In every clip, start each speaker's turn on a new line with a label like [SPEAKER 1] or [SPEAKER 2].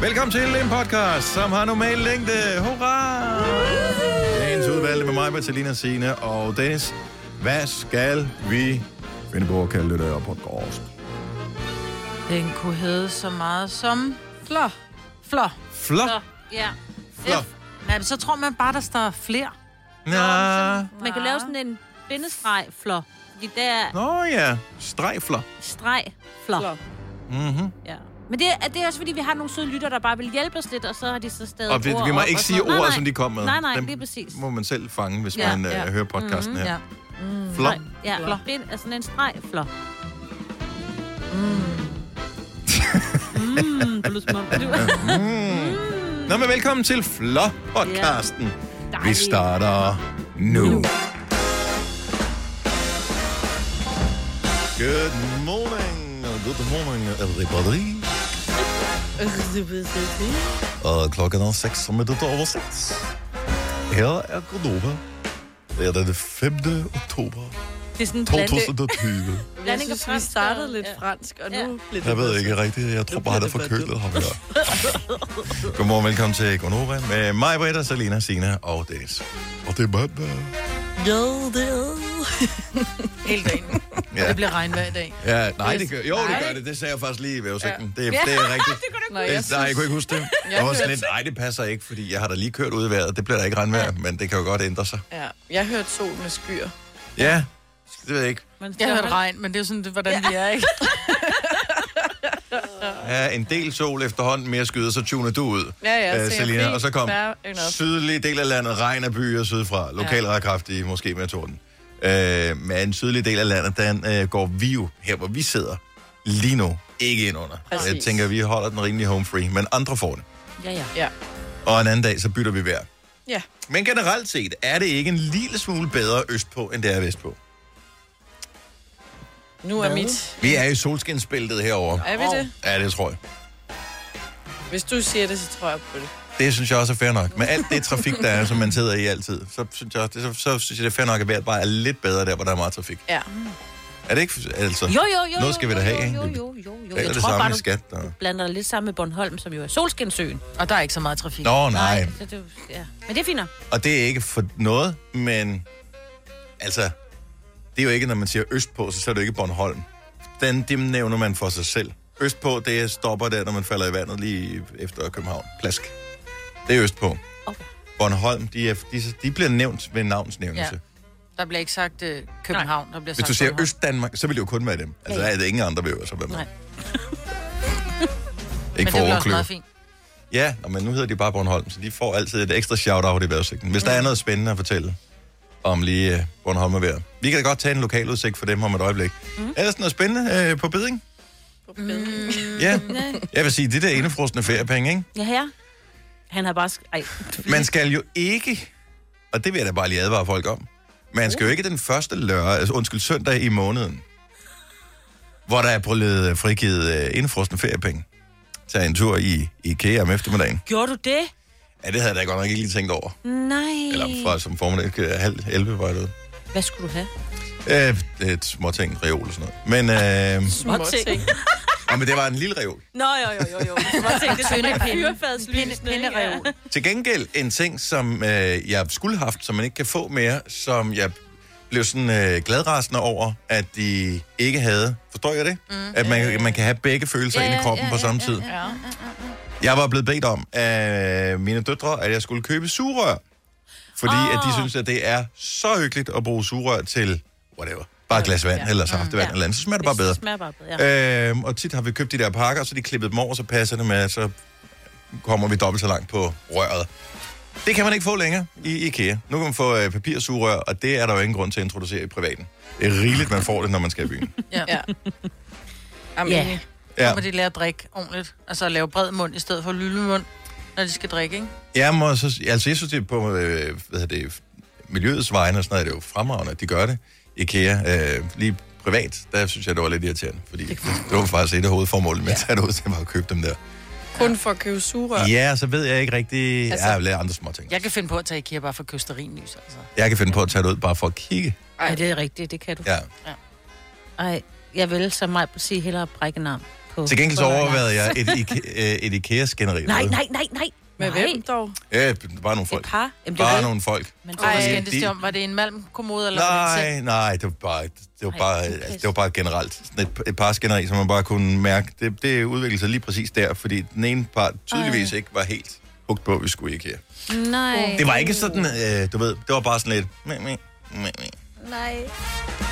[SPEAKER 1] Velkommen til en podcast, som har normal længde. Hurra! Dagens udvalgte med mig, Bertalina Sine og Dennis. Hvad skal vi finde på at kalde det der på gårdst?
[SPEAKER 2] Den kunne hedde så meget som... Flå. Flå.
[SPEAKER 1] Flot.
[SPEAKER 3] Ja.
[SPEAKER 1] Flå.
[SPEAKER 2] Nej, men så tror man bare, der står flere.
[SPEAKER 1] Nå.
[SPEAKER 3] Man kan lave sådan en bindestreg flå. De der
[SPEAKER 1] Nå ja, stregflå.
[SPEAKER 3] streg flå.
[SPEAKER 1] Mm-hmm.
[SPEAKER 3] Ja. Men det er, det er også fordi, vi har nogle søde lytter, der bare vil hjælpe os lidt, og så har de så stadig
[SPEAKER 1] Og vi,
[SPEAKER 3] ord
[SPEAKER 1] vi må
[SPEAKER 3] op
[SPEAKER 1] ikke
[SPEAKER 3] og
[SPEAKER 1] sige
[SPEAKER 3] sådan. Nej,
[SPEAKER 1] ordet,
[SPEAKER 3] nej.
[SPEAKER 1] som de kom med.
[SPEAKER 3] Nej, nej,
[SPEAKER 1] Dem
[SPEAKER 3] lige præcis.
[SPEAKER 1] må man selv fange, hvis
[SPEAKER 3] Ja,
[SPEAKER 1] man øh,
[SPEAKER 2] ja.
[SPEAKER 1] hører podcasten her.
[SPEAKER 2] Ja.
[SPEAKER 1] Flå.
[SPEAKER 3] Nej, Ja,
[SPEAKER 2] Flå.
[SPEAKER 3] Bind er sådan en streg flå. Mm. mm, det lyder som om, du...
[SPEAKER 1] Nå, men velkommen til Flå-podcasten. Vi starter nu. Good morning, og good morning, everybody. Og klokken er 6 minutter over 6. Her er Godova. Det er den 5. oktober
[SPEAKER 3] Det er sådan en blande-
[SPEAKER 1] 2020.
[SPEAKER 3] blanding af
[SPEAKER 4] Jeg synes, vi
[SPEAKER 3] fransk
[SPEAKER 4] startede
[SPEAKER 3] og-
[SPEAKER 4] lidt
[SPEAKER 3] ja.
[SPEAKER 4] fransk, og nu
[SPEAKER 3] Ja.
[SPEAKER 4] blev det...
[SPEAKER 1] Jeg ved ikke rigtigt. Jeg tror bare, der er forkølet ham der. Godmorgen, velkommen til Gonova med mig, Britta, Salina, Sina og Dennis. Og det er mandag.
[SPEAKER 4] Jo, det er...
[SPEAKER 2] Hele dagen.
[SPEAKER 1] Ja.
[SPEAKER 2] Det bliver regnvejr i dag.
[SPEAKER 1] Ja, nej, det gør, jo, det gør det. Det sagde jeg faktisk lige ved udsigten. Det, det er rigtigt.
[SPEAKER 4] Nå, jeg
[SPEAKER 1] Det, nej, jeg
[SPEAKER 4] synes,
[SPEAKER 1] kunne ikke huske det. Jeg var sådan lidt, nej, det passer ikke, fordi jeg har da lige kørt ud i vejret. Det bliver da ikke regnvejr, men det kan jo godt ændre sig.
[SPEAKER 4] ja, jeg hørte sol med skyer.
[SPEAKER 1] Ja, det ved jeg ikke.
[SPEAKER 3] Man
[SPEAKER 2] Jeg har hørt
[SPEAKER 3] hørt
[SPEAKER 2] regn, men det er jo sådan, det, hvordan vi er, ikke?
[SPEAKER 1] Ja, en del sol efterhånden, mere skyde, så tuner du ud,
[SPEAKER 4] Ja, ja,
[SPEAKER 1] øh,
[SPEAKER 4] så jeg
[SPEAKER 1] Selina.
[SPEAKER 4] fik
[SPEAKER 1] Og så kom
[SPEAKER 4] fair enough.
[SPEAKER 1] sydlige del af landet, regn af byer sydfra, lokal ja. kraftige, måske med torden. Øh, men sydlige del af landet, den øh, går vi jo, her hvor vi sidder, lige nu, ikke ind under.
[SPEAKER 4] Præcis.
[SPEAKER 1] Jeg tænker, vi holder den rimelig home free, men andre får det.
[SPEAKER 3] Ja, ja.
[SPEAKER 4] Ja.
[SPEAKER 1] Og en anden dag, så bytter vi vejr.
[SPEAKER 4] Ja.
[SPEAKER 1] Men generelt set er det ikke en lille smule bedre østpå, end det er vestpå.
[SPEAKER 4] Nu er mit...
[SPEAKER 1] Vi er i solskinsbæltet herover.
[SPEAKER 4] Er vi det?
[SPEAKER 1] Ja, det tror jeg.
[SPEAKER 4] Hvis du siger det, så tror jeg på det.
[SPEAKER 1] Det synes jeg også er fair nok. Men alt det trafik, der er, som man sidder i altid, så synes jeg, også, det, så, så synes jeg det er fair nok, at vejret bare er lidt bedre der, hvor der er meget trafik.
[SPEAKER 4] Ja.
[SPEAKER 1] Er det ikke? Altså,
[SPEAKER 3] Jo, jo, jo.
[SPEAKER 1] Noget skal vi da
[SPEAKER 3] jo,
[SPEAKER 1] have, ikke?
[SPEAKER 3] jo, jo, jo, jo, jo.
[SPEAKER 1] det er
[SPEAKER 3] Jeg
[SPEAKER 1] det
[SPEAKER 3] tror
[SPEAKER 1] samme
[SPEAKER 3] bare,
[SPEAKER 1] i
[SPEAKER 3] du
[SPEAKER 1] skat. Der.
[SPEAKER 3] blander dig lidt sammen med Bornholm, som jo er Solskinsøen.
[SPEAKER 2] Og der er ikke så meget trafik.
[SPEAKER 1] Nå, nej.
[SPEAKER 3] Så det, ja. Men det er fint nok.
[SPEAKER 1] Og det er ikke for noget, men altså, det er jo ikke, når man siger østpå, så, så er det jo ikke Bornholm. Den, dem nævner man for sig selv. Østpå, det stopper der, når man falder i vandet lige efter København. Plask. Det er østpå.
[SPEAKER 3] Okay.
[SPEAKER 1] Bornholm, de, er, de, de bliver nævnt ved navnsnævnelse. Ja.
[SPEAKER 2] Ja. Der bliver ikke sagt øh, København, der bliver
[SPEAKER 1] Hvis
[SPEAKER 2] sagt
[SPEAKER 1] du siger
[SPEAKER 2] Bornholm.
[SPEAKER 1] Østdanmark, så vil det jo kun være dem. Altså, der er det ingen andre, der vil øve sig med.
[SPEAKER 3] Nej.
[SPEAKER 1] Ikke
[SPEAKER 2] Men det
[SPEAKER 1] for
[SPEAKER 2] bliver også
[SPEAKER 1] overkløve.
[SPEAKER 2] meget fint.
[SPEAKER 1] Ja, nå, men nu hedder de bare Bornholm, så de får altid et ekstra shout-out i vejrudsigten. Hvis der
[SPEAKER 2] Mm.
[SPEAKER 1] er noget spændende at fortælle om lige øh, Bornholm og vejret. Vi kan da godt tage en lokal udsigt for dem om et øjeblik. Mm. Er der sådan noget spændende øh, på beding?
[SPEAKER 4] Mm.
[SPEAKER 1] Ja. Jeg vil sige, det der indefrostende feriepenge, ikke?
[SPEAKER 3] Ja, her. Han har bare... Sk- Ej.
[SPEAKER 1] Man skal jo ikke, og det vil jeg da bare lige advare folk om, man skal jo ikke den første lørdag, altså undskyld, søndag i måneden, hvor der er blevet frigivet øh, indefrostende feriepenge, tage en tur i IKEA om eftermiddagen.
[SPEAKER 3] Gjorde du det?
[SPEAKER 1] Ja, det havde jeg da godt nok ikke lige tænkt over.
[SPEAKER 3] Nej.
[SPEAKER 1] Eller fra som formiddag, øh, halv 11 var jeg derude.
[SPEAKER 3] Hvad skulle du have?
[SPEAKER 1] Øh, det er et småting, reol og sådan noget. Men, øh,
[SPEAKER 3] Små ting.
[SPEAKER 1] og, men det var en lille reol.
[SPEAKER 3] Nå, jo, jo, jo, jo. Små ting, det er sådan en fyrfadslys. øh, Pindereol.
[SPEAKER 1] Til gengæld en ting, som øh, jeg skulle have haft, som man ikke kan få mere, som jeg blev sådan øh, gladrasende over, at de ikke havde. Forstår jeg det? Mm. At man, man kan have begge følelser ja, inde i kroppen ja, på samme ja, tid.
[SPEAKER 4] Ja.
[SPEAKER 1] Jeg var blevet bedt om af mine døtre, at jeg skulle købe sugerør. Fordi oh. at de synes, at det er så hyggeligt at bruge sugerør til whatever. Bare et glas vand, ja. eller saftevand, ja.
[SPEAKER 3] Ja.
[SPEAKER 1] eller andet. Så smager det bare bedre.
[SPEAKER 3] Det smager bare bedre, ja.
[SPEAKER 1] Øhm, og tit har vi købt de der pakker, så de klippet dem over, så passer det med, så kommer vi dobbelt så langt på røret. Det kan man ikke få længere i IKEA. Nu kan man få øh, papirsugerør, og det er der jo ingen grund til at introducere i privaten. Det er rigeligt, man får det, når man skal i byen.
[SPEAKER 2] Ja.
[SPEAKER 4] Ja. Amen.
[SPEAKER 3] Ja.
[SPEAKER 4] Yeah.
[SPEAKER 2] ja.
[SPEAKER 1] Ja.
[SPEAKER 2] Så må de lære at drikke ordentligt. Altså at lave bred mund i stedet for lille mund, når de skal drikke, ikke?
[SPEAKER 1] Jeg må så, altså, jeg synes, det er på øh, hvad hedder det, miljøets vegne og sådan noget, er det jo fremragende, at de gør det. IKEA, øh, lige privat, der synes jeg, det var lidt irriterende, fordi det var faktisk et af hovedformålene med at tage det ud til at købe dem der.
[SPEAKER 4] Kun for at købe sugerør.
[SPEAKER 1] Ja, så ved jeg ikke rigtig... Altså,
[SPEAKER 4] Altså-
[SPEAKER 1] jeg har lavet andre små ting.
[SPEAKER 2] Jeg kan finde på at tage IKEA bare for køsterinlys, altså.
[SPEAKER 1] Jeg kan finde på at tage det ud bare for at kigge.
[SPEAKER 3] Ej, det er rigtigt, det kan du.
[SPEAKER 1] Ja.
[SPEAKER 3] Ej, jeg vil som mig sige hellere brække en arm.
[SPEAKER 2] på.
[SPEAKER 1] Til gengæld så overvejede jeg et, Ike- øh, et IKEA-skænderi.
[SPEAKER 2] Nej, nej, nej, nej.
[SPEAKER 4] Med
[SPEAKER 2] nej.
[SPEAKER 4] hvem dog?
[SPEAKER 1] Ja, Øh, bare nogle folk.
[SPEAKER 3] Par? Jamen, det
[SPEAKER 1] Bare
[SPEAKER 3] var
[SPEAKER 1] nogle folk.
[SPEAKER 2] Men
[SPEAKER 1] Ej,
[SPEAKER 2] så skændtes
[SPEAKER 1] de-
[SPEAKER 2] det om, var det en malmkommode eller var det en
[SPEAKER 1] Nej, nej, det var bare, det var
[SPEAKER 2] Ej,
[SPEAKER 1] bare,
[SPEAKER 2] det er
[SPEAKER 1] altså,
[SPEAKER 2] pis.
[SPEAKER 1] det var bare generelt. Sådan et, et par skænderi, som man bare kunne mærke. Det, det udviklede sig lige præcis der, fordi den ene part tydeligvis ikke var helt hugt på, at vi skulle i IKEA.
[SPEAKER 3] Nej.
[SPEAKER 1] Det var ikke sådan, øh, du ved, det var bare sådan lidt... Mæ, mæ, mæ, mæ.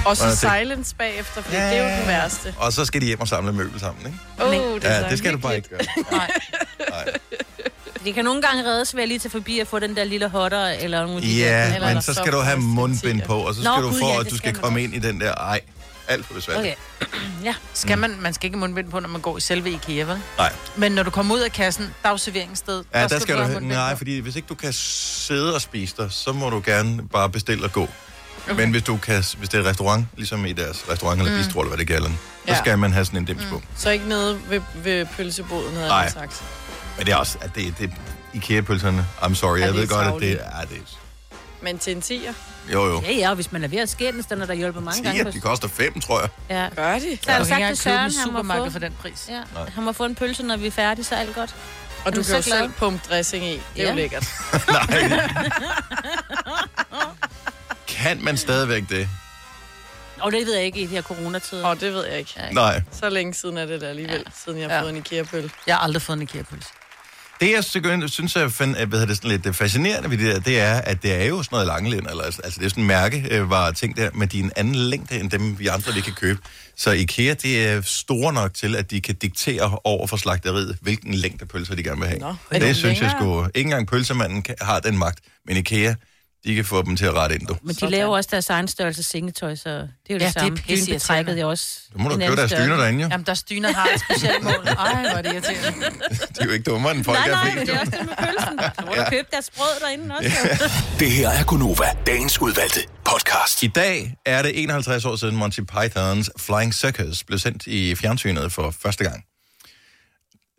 [SPEAKER 4] Og så
[SPEAKER 1] Nå, jeg tænkte-
[SPEAKER 4] silence bagefter, for det er jo den værste.
[SPEAKER 1] Og så skal de hjem og samle møbel sammen, ikke?
[SPEAKER 4] Åh, oh, det er
[SPEAKER 1] Ja,
[SPEAKER 4] så
[SPEAKER 1] det skal du bare ikke
[SPEAKER 4] hyggeligt.
[SPEAKER 1] gøre.
[SPEAKER 2] Nej.
[SPEAKER 1] Nej.
[SPEAKER 3] Det kan nogle gange reddes ved at lige tage forbi og få den der lille hotter, eller nogle af de der-
[SPEAKER 1] Ja,
[SPEAKER 3] eller-
[SPEAKER 1] men så skal du have mundbind på, og så skal
[SPEAKER 3] Nå,
[SPEAKER 1] du
[SPEAKER 3] gud,
[SPEAKER 1] få,
[SPEAKER 3] ja,
[SPEAKER 1] at
[SPEAKER 3] det
[SPEAKER 1] du skal
[SPEAKER 3] skal man
[SPEAKER 1] komme
[SPEAKER 3] også.
[SPEAKER 1] ind i den der... Ej, alt for besværligt.
[SPEAKER 3] Okay. ja.
[SPEAKER 2] Skal man, man skal ikke have mundbind på, når man går i selve IKEA, vel?
[SPEAKER 1] Nej.
[SPEAKER 2] Men når du kommer ud af kassen, dagserveringssted,
[SPEAKER 1] Ja, der skal du...
[SPEAKER 2] have
[SPEAKER 1] have-
[SPEAKER 2] mundbind
[SPEAKER 1] Nej,
[SPEAKER 2] på.
[SPEAKER 1] fordi hvis ikke du kan sidde og spise der, så må du gerne bare bestille og gå. Men hvis, du kan, hvis det er et restaurant, ligesom i deres restaurant eller bistro, eller hvad det kalder den, så
[SPEAKER 4] Ja.
[SPEAKER 1] skal man have sådan en dims på.
[SPEAKER 4] Så ikke nede ved, ved pølseboden, havde
[SPEAKER 1] Nej.
[SPEAKER 4] jeg sagt.
[SPEAKER 1] Men det er også... At det, det IKEA-pølserne, I'm sorry, jeg
[SPEAKER 4] det
[SPEAKER 1] ved
[SPEAKER 4] er
[SPEAKER 1] godt, at det
[SPEAKER 4] tarveligt.
[SPEAKER 1] er... Det, er-
[SPEAKER 4] Men til en tiger.
[SPEAKER 1] jo, jo.
[SPEAKER 3] Ja, ja, og hvis man er ved at skændes, den er der hjulpet mange
[SPEAKER 1] Siger,
[SPEAKER 3] gange.
[SPEAKER 1] de koster fem, tror jeg.
[SPEAKER 3] Ja.
[SPEAKER 4] Gør det.
[SPEAKER 3] Så har
[SPEAKER 2] Du kan
[SPEAKER 3] jeg sagt
[SPEAKER 2] ikke
[SPEAKER 3] til
[SPEAKER 2] engang købe den i
[SPEAKER 3] Søren, han må, få,
[SPEAKER 2] supermarkedet for den pris.
[SPEAKER 3] ja, han må få en pølse, når vi er færdige, så er alt godt.
[SPEAKER 4] Og du
[SPEAKER 3] er
[SPEAKER 4] kan jo
[SPEAKER 3] så glad.
[SPEAKER 4] selv pumpe dressing i. Det er
[SPEAKER 3] Ja.
[SPEAKER 4] jo lækkert.
[SPEAKER 1] Kan man stadigvæk det?
[SPEAKER 3] Og det ved jeg ikke i de her coronatider.
[SPEAKER 4] Og det ved jeg ikke.
[SPEAKER 1] Nej.
[SPEAKER 4] Så længe siden er det der alligevel, ja. siden jeg har
[SPEAKER 2] Ja.
[SPEAKER 4] fået en IKEA-pøl.
[SPEAKER 2] Jeg har aldrig fået en IKEA-pølse.
[SPEAKER 1] Det, jeg segynd- synes, jeg find, at, hvad hedder det, sådan lidt øh, fascinerende ved det der, det er, at det er jo sådan noget langlænd, eller, altså det er sådan en mærke, øh, var ting der, men de er en anden længde, end dem, vi andre lige kan købe. Så IKEA, det er store nok til, at de kan diktere over for slagteriet, hvilken længde pølser de gerne vil have.
[SPEAKER 4] Nå, er
[SPEAKER 1] det
[SPEAKER 4] det
[SPEAKER 1] synes jeg
[SPEAKER 4] længere?
[SPEAKER 1] sgu. Ikke engang pølsemanden kan, har den magt, men IKEA, de kan få dem til at rette ind, du.
[SPEAKER 3] Men de
[SPEAKER 4] Sådan.
[SPEAKER 3] laver også deres egen størrelse sengetøj, så det er jo det
[SPEAKER 2] det er
[SPEAKER 3] samme.
[SPEAKER 2] pisseirriterende.
[SPEAKER 3] Dynebetrækket er også
[SPEAKER 1] Du må da
[SPEAKER 3] en
[SPEAKER 1] købe
[SPEAKER 3] anden
[SPEAKER 1] deres
[SPEAKER 3] størrelse.
[SPEAKER 1] dyner derinde, jo.
[SPEAKER 2] Jamen, deres dyner har et specielt mål. Ej, hvor er det irriterende.
[SPEAKER 1] De er jo ikke dummere end folk,
[SPEAKER 3] Nej,
[SPEAKER 1] der
[SPEAKER 3] nej,
[SPEAKER 1] flest,
[SPEAKER 3] men det
[SPEAKER 1] jo.
[SPEAKER 3] er også det med pølsen. Så må du købe deres brød derinde også.
[SPEAKER 5] Det her er Gunova, dagens udvalgte podcast.
[SPEAKER 1] I dag er det 51 år siden Monty Pythons Flying Circus blev sendt i fjernsynet for første gang.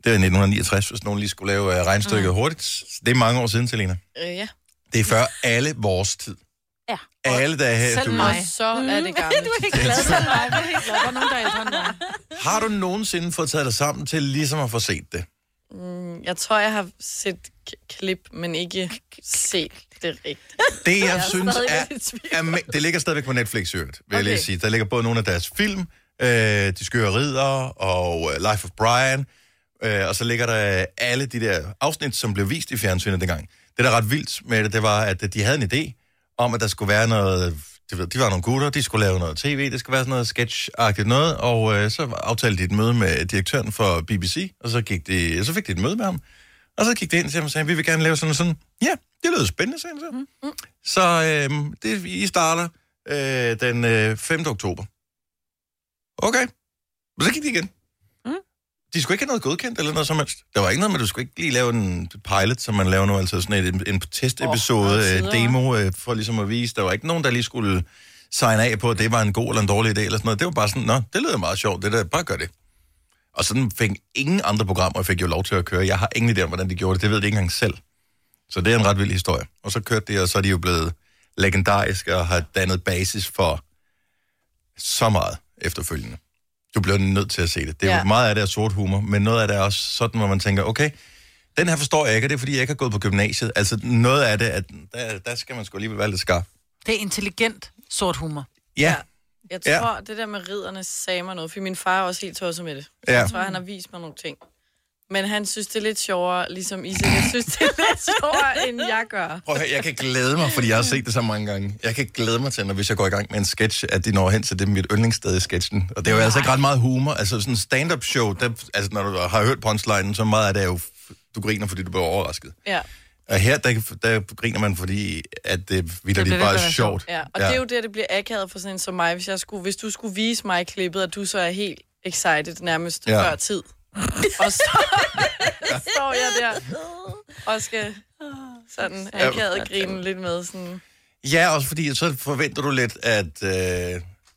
[SPEAKER 1] Det var i 1969, hvis nogen lige skulle lave øh, regnstykket mm. hurtigt. Det er mange år siden, Selina.
[SPEAKER 4] Øh, ja.
[SPEAKER 1] Det er før alle vores tid.
[SPEAKER 3] Ja. Mm.
[SPEAKER 1] Alle dage her i
[SPEAKER 2] Selv
[SPEAKER 1] studiet.
[SPEAKER 2] mig.
[SPEAKER 4] Og så er det gammelt.
[SPEAKER 3] Du er ikke glad for mig.
[SPEAKER 2] Jeg er helt glad. Der er nogen, der er ældre end mig.
[SPEAKER 1] Har du nogensinde fået taget dig sammen til ligesom at få set det?
[SPEAKER 4] Jeg tror, jeg har set k- klip, men ikke set det rigtigt.
[SPEAKER 1] Det, jeg, jeg synes
[SPEAKER 4] stadig
[SPEAKER 1] er,
[SPEAKER 4] lidt i tvivl.
[SPEAKER 1] er... me- Det ligger stadigvæk på Netflix, i øvrigt, vil okay. jeg
[SPEAKER 4] Okay.
[SPEAKER 1] lige sige. Der ligger både nogle af deres film, øh, De Skøre Ridder og øh, Life of Brian, øh, og så ligger der alle de der afsnit, som blev vist i fjernsynet dengang. Det, der er ret vildt med det, det var, at øh, de havde en idé om, at der skulle være noget... De, ved- de var nogle gutter, de skulle lave noget tv, det skulle være sådan noget sketch noget, og øh, så aftalte de et møde med direktøren for BBC, og så, gik de, så fik de et møde med ham. Og så gik det ind til ham og sagde, vi vil gerne lave sådan og sådan. Ja, det lyder spændende, sagde han
[SPEAKER 4] Mm.
[SPEAKER 1] så. Så øh, det, I starter øh, den øh, 5. oktober. Okay. Men så gik de igen.
[SPEAKER 3] Mm.
[SPEAKER 1] De skulle ikke have noget godkendt eller noget som helst. Der var ikke noget med, at du skulle ikke lige lave en pilot, som man laver nu, altså sådan et, en
[SPEAKER 4] Åh,
[SPEAKER 1] testepisode,
[SPEAKER 4] der er
[SPEAKER 1] oh,
[SPEAKER 4] tider,
[SPEAKER 1] øh, demo, øh, for ligesom at vise. Der var ikke nogen, der lige skulle signe af på, at det var en god eller en dårlig idé eller sådan noget. Det var bare sådan, nå, det lyder meget sjovt, det der, bare gør det. Og sådan fik ingen andre programmer, fik jo lov til at køre. Jeg har ingen idé om, hvordan de gjorde det, det ved de ikke engang selv. Så det er en ret vild historie. Og så kørte de, og så er de jo blevet legendariske og har dannet basis for så meget efterfølgende. Du bliver nødt til at se det. Det er ja.
[SPEAKER 4] Ja.
[SPEAKER 1] meget af det er sort humor, men noget af det er også sådan, hvor man tænker, okay, den her forstår jeg ikke, og det er fordi, jeg ikke har gået på gymnasiet. Altså noget af det, at der, der skal man sgu alligevel være lidt skarp.
[SPEAKER 2] Det er intelligent sort humor.
[SPEAKER 1] Ja,
[SPEAKER 4] Jeg
[SPEAKER 1] Ja.
[SPEAKER 4] tror, det der med ridderne sagde mig noget, for min far er også helt tosset med det. Så
[SPEAKER 1] Ja.
[SPEAKER 4] Jeg tror, han har vist mig nogle ting. Men han synes, det er lidt sjovere, ligesom I sikkert synes, det er lidt sjovere, end jeg gør.
[SPEAKER 1] Prøv at høre, jeg kan glæde mig, fordi jeg har set det så mange gange. Jeg kan glæde mig til, når hvis jeg går i gang med en sketch, at de når hen til det mit yndlingssted i sketchen. Og det er jo altså ikke ret meget humor. Altså sådan en stand-up show, der, altså når du har hørt punchlinen, så meget af det er jo, f- du griner, fordi du bliver overrasket.
[SPEAKER 4] Ja,
[SPEAKER 1] Og her, der, der griner man, fordi at det vildt
[SPEAKER 2] bliver
[SPEAKER 1] det
[SPEAKER 2] ved
[SPEAKER 1] bare
[SPEAKER 2] med at
[SPEAKER 1] er
[SPEAKER 2] være
[SPEAKER 1] sjovt.
[SPEAKER 4] ja. Og ja. det er jo der, det bliver akavet for sådan en som mig, hvis, jeg skulle, hvis du skulle vise mig klippet, at du så er helt excited nærmest
[SPEAKER 1] Ja.
[SPEAKER 4] ja. før tid. Og så står jeg der og skal sådan akavet grine lidt med sådan...
[SPEAKER 1] Ja, også fordi så forventer du lidt, at, øh,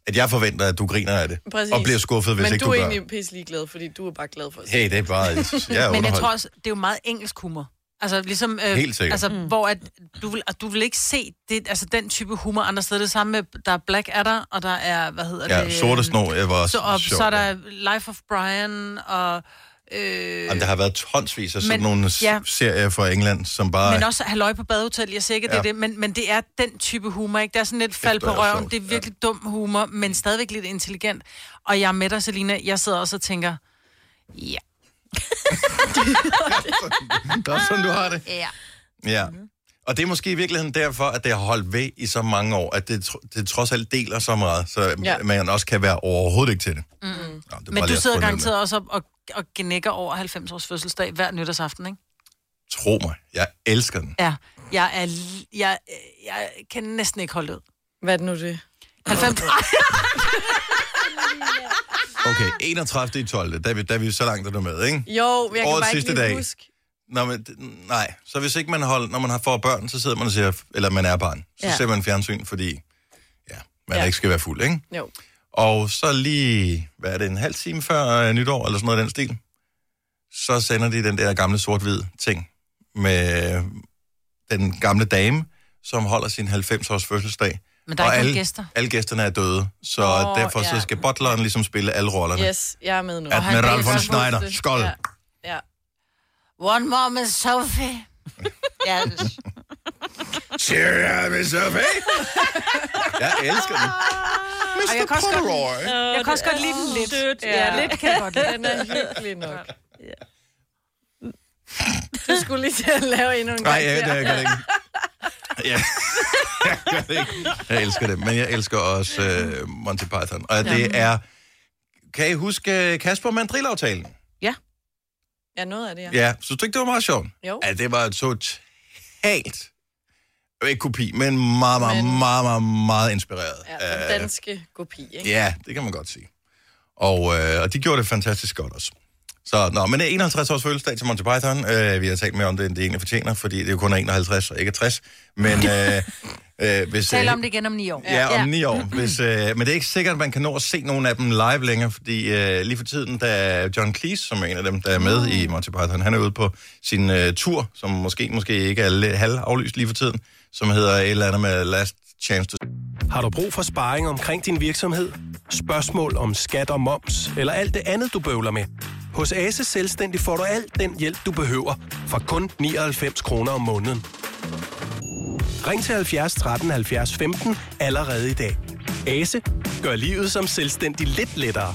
[SPEAKER 1] at jeg forventer, at du griner af det.
[SPEAKER 4] Præcis.
[SPEAKER 1] Og bliver skuffet, hvis
[SPEAKER 4] Men
[SPEAKER 1] ikke
[SPEAKER 4] du
[SPEAKER 1] du,
[SPEAKER 4] er
[SPEAKER 1] gør.
[SPEAKER 4] egentlig pisselig glad, fordi du er bare glad for at se
[SPEAKER 1] Hey, det er bare... Jeg er
[SPEAKER 2] Men jeg
[SPEAKER 1] underholdt.
[SPEAKER 2] tror også, det er jo meget engelsk humor.
[SPEAKER 6] Altså, ligesom, øh,
[SPEAKER 1] Helt sikkert.
[SPEAKER 6] Altså, mm. hvor at, du, vil, at du vil ikke se det, altså, den type humor andre steder. Det samme med, der er Black Adder, og der er, hvad hedder
[SPEAKER 1] Ja,
[SPEAKER 6] det?
[SPEAKER 1] Sorte
[SPEAKER 6] øhm,
[SPEAKER 1] Snor øh, var
[SPEAKER 6] Så, og,
[SPEAKER 1] sjovt,
[SPEAKER 6] så er
[SPEAKER 1] ja.
[SPEAKER 6] der Life of Brian, og... Øh,
[SPEAKER 1] Jamen, der har været tonsvis af sådan
[SPEAKER 6] Men-
[SPEAKER 1] nogle ja.
[SPEAKER 6] ja.
[SPEAKER 1] serier fra England, som bare...
[SPEAKER 6] men også halløj på badehotel, jeg siger ikke, at det
[SPEAKER 1] Ja.
[SPEAKER 6] er det, men, men det er den type humor, ikke? Det er sådan lidt fald
[SPEAKER 1] det
[SPEAKER 6] på
[SPEAKER 1] er sjovt,
[SPEAKER 6] røven, det er virkelig dum humor, men stadigvæk lidt intelligent. Og jeg er med dig, Selina, jeg sidder også og tænker, ja,
[SPEAKER 1] Det er også sådan, du har det.
[SPEAKER 6] Ja.
[SPEAKER 1] Ja. Og det er måske i virkeligheden derfor, at det har holdt ved i så mange år, at det, tr- det trods alt deler så meget, så ja.
[SPEAKER 4] Ja.
[SPEAKER 1] man også kan være overhovedet ikke til det. Mm. Nå, det er bare
[SPEAKER 6] men
[SPEAKER 1] lige
[SPEAKER 6] du
[SPEAKER 1] at
[SPEAKER 6] sidder
[SPEAKER 1] få det
[SPEAKER 6] garanteret også og, og, og genækker over 90 års fødselsdag hver nytårsaften, ikke?
[SPEAKER 1] med. Tro mig, jeg elsker den.
[SPEAKER 6] Ja, jeg, er, li- jeg, jeg kan næsten ikke holde ud.
[SPEAKER 4] Hvad er det nu det?
[SPEAKER 6] 90, Ej, Ah!
[SPEAKER 1] Okay, 31. i 12. Der er vi, der er vi så langt, er du med, ikke?
[SPEAKER 4] Jo, men jeg kan
[SPEAKER 1] Årets
[SPEAKER 4] bare
[SPEAKER 1] sidste
[SPEAKER 4] ikke lige
[SPEAKER 1] dag.
[SPEAKER 4] huske.
[SPEAKER 1] Nå, men, d- nej, så hvis ikke man holder, når man har får børn, så sidder man og ser, eller man er barn, så ja.
[SPEAKER 4] Ja.
[SPEAKER 1] ser man fjernsyn, fordi ja, man ja.
[SPEAKER 4] Ja.
[SPEAKER 1] ikke skal være fuld, ikke?
[SPEAKER 4] Jo.
[SPEAKER 1] Og så lige, hvad er det, en halv time før øh, nytår, eller sådan noget i den stil, så sender de den der gamle sort-hvid ting med øh, den gamle dame, som holder sin 90-års fødselsdag.
[SPEAKER 6] men der er
[SPEAKER 1] og
[SPEAKER 6] ikke
[SPEAKER 1] alle,
[SPEAKER 6] nogen gæster.
[SPEAKER 1] alle gæsterne er døde, så oh,
[SPEAKER 4] Nå,
[SPEAKER 1] derfor ja. så
[SPEAKER 4] ja.
[SPEAKER 1] skal butleren ligesom spille alle rollerne.
[SPEAKER 4] Yes, jeg er med nu.
[SPEAKER 1] Ja,
[SPEAKER 4] Åh,
[SPEAKER 1] med
[SPEAKER 6] han
[SPEAKER 1] Ralf
[SPEAKER 6] kan
[SPEAKER 1] von
[SPEAKER 6] ikke
[SPEAKER 1] Schneider.
[SPEAKER 4] huske det.
[SPEAKER 1] Skål.
[SPEAKER 4] Ja. Ja.
[SPEAKER 6] One more med Sophie. ja,
[SPEAKER 1] Cheer up, Miss Sophie. Jeg elsker den.
[SPEAKER 6] og jeg kan også godt,
[SPEAKER 1] Polaroid.
[SPEAKER 6] jeg kan også godt lide den lidt.
[SPEAKER 3] Sødt.
[SPEAKER 4] Ja.
[SPEAKER 6] Ja, lidt kan jeg godt lide.
[SPEAKER 4] Den er hyggelig nok. Du skulle lige til at lave endnu en gang.
[SPEAKER 1] Nej, ja, det gør det ikke. Ja. jeg gør det ikke. Jeg elsker det, men jeg elsker også øh, Monty Python. Og det er... Kan I huske øh, Kasper Mandrill-aftalen?
[SPEAKER 4] Ja, noget af det, ja.
[SPEAKER 1] Ja, synes du ikke, det var meget sjovt?
[SPEAKER 4] Jo.
[SPEAKER 1] Ja, det var et totalt... Øh, Ikke kopi, men meget, meget,
[SPEAKER 4] Men-
[SPEAKER 1] meget, meget, meget inspireret.
[SPEAKER 4] Ja,
[SPEAKER 1] af-
[SPEAKER 4] den danske kopi, ikke?
[SPEAKER 1] øh, Ja, det kan man godt sige. Og, øh, og de gjorde det fantastisk godt også. Så, nå, men det er 51 års fødselsdag til Monty Python. Øh, vi har talt mere om det, end det egentlig fortjener, fordi det jo kun er 51 og ikke er 60. Men øh, øh, hvis...
[SPEAKER 6] Tal om det igen om ni år.
[SPEAKER 1] Ja, om ni år. Hvis, øh, men det er ikke sikkert, at man kan nå at se nogen af dem live længere, fordi øh, lige for tiden, der er John Cleese, som er en af dem, der er med i Monty Python, han er ude på sin øh, tur, som måske, måske ikke er lidt halvaflyst lige for tiden, som hedder et eller andet med Last Chance to
[SPEAKER 7] Har du brug for sparring omkring din virksomhed? Spørgsmål om skat og moms, eller alt det andet, du bøvler med? Hos Ase Selvstændig får du alt den hjælp, du behøver, for kun 99 kroner om måneden. Ring til 70 13 70 15 allerede i dag. Ase gør livet som selvstændig lidt lettere.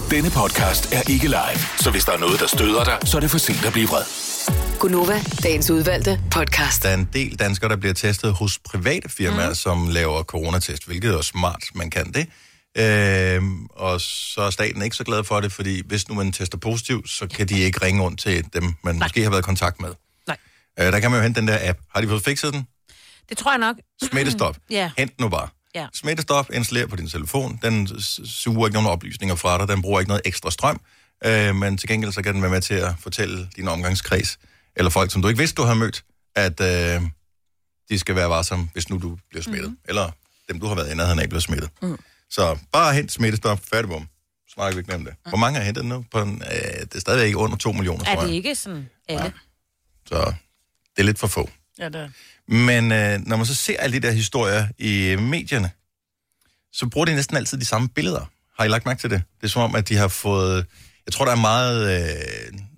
[SPEAKER 5] Denne podcast er ikke live, så hvis der er noget, der støder dig, så er det for sent at blive vred.
[SPEAKER 8] Gunova, dagens udvalgte podcast.
[SPEAKER 1] der er en del danskere, der bliver testet hos private firmaer, mm. som laver coronatest, hvilket er smart, man kan det. Øhm, og så er staten ikke så glad for det, fordi hvis nu man tester positivt, så kan de ikke ringe rundt til dem, man Nej. måske har været i kontakt med.
[SPEAKER 2] Nej.
[SPEAKER 1] Øh, der kan man jo hente den der app. Har de fået fikset den?
[SPEAKER 3] Det tror jeg nok.
[SPEAKER 1] Smittestop.
[SPEAKER 3] Ja.
[SPEAKER 1] Hent nu bare.
[SPEAKER 3] Ja.
[SPEAKER 1] Smittestop installer på din telefon. Den s- suger ikke nogen oplysninger fra dig. Den bruger ikke noget ekstra strøm. Øh, men til gengæld så kan den være med til at fortælle din omgangskreds, eller folk, som du ikke vidste, du har mødt, at øh, de skal være varsomme, hvis nu du bliver smittet.
[SPEAKER 3] Mhm.
[SPEAKER 1] Mm-hmm. Eller dem, du har været i nærheden af, bliver smittet. Mm. Så bare hent smittestop. Færdig bum. Snakker vi ikke mere om det. Hvor mange har hentet den nu? På en, øh, det er stadigvæk under 2 millioner,
[SPEAKER 3] Mm. Er
[SPEAKER 1] tror jeg.
[SPEAKER 3] det ikke sådan alle?
[SPEAKER 1] Så det er lidt for få.
[SPEAKER 4] Ja, det er.
[SPEAKER 1] Men øh, når man så ser alle de der historier i øh, medierne, så bruger de næsten altid de samme billeder. Har I lagt mærke til det? Det er som om, at de har fået... Jeg tror, der er meget... Øh,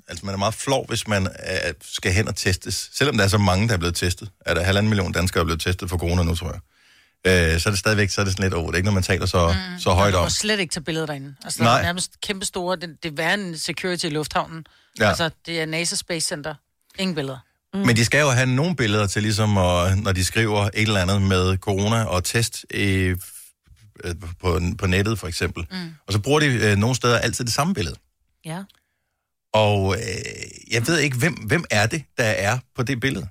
[SPEAKER 1] altså, man er meget flov, hvis man øh, skal hen og testes. Selvom der er så mange, der er blevet testet. Er der halvanden million danskere, der er blevet testet for corona nu, tror jeg. øh, så er det stadigvæk så er det sådan lidt, åh, det er ikke, når man taler så, mm. så højt
[SPEAKER 6] Du
[SPEAKER 1] om.
[SPEAKER 6] må slet ikke tage billeder derinde. Altså,
[SPEAKER 1] Nej.
[SPEAKER 6] Nej. er nærmest kæmpe store. Det, det er værre end security i lufthavnen.
[SPEAKER 1] Ja.
[SPEAKER 6] Ja. Altså, det er NASA Space Center. Ingen billeder.
[SPEAKER 1] Men de skal jo have nogle billeder til, ligesom og, når de skriver et eller andet med corona og test øh, øh, på, på nettet, for eksempel. Mm. Og så bruger de øh, nogle steder altid det samme billede.
[SPEAKER 6] Ja.
[SPEAKER 1] Og øh, jeg ved ikke, hvem, hvem er det, der er på det billede?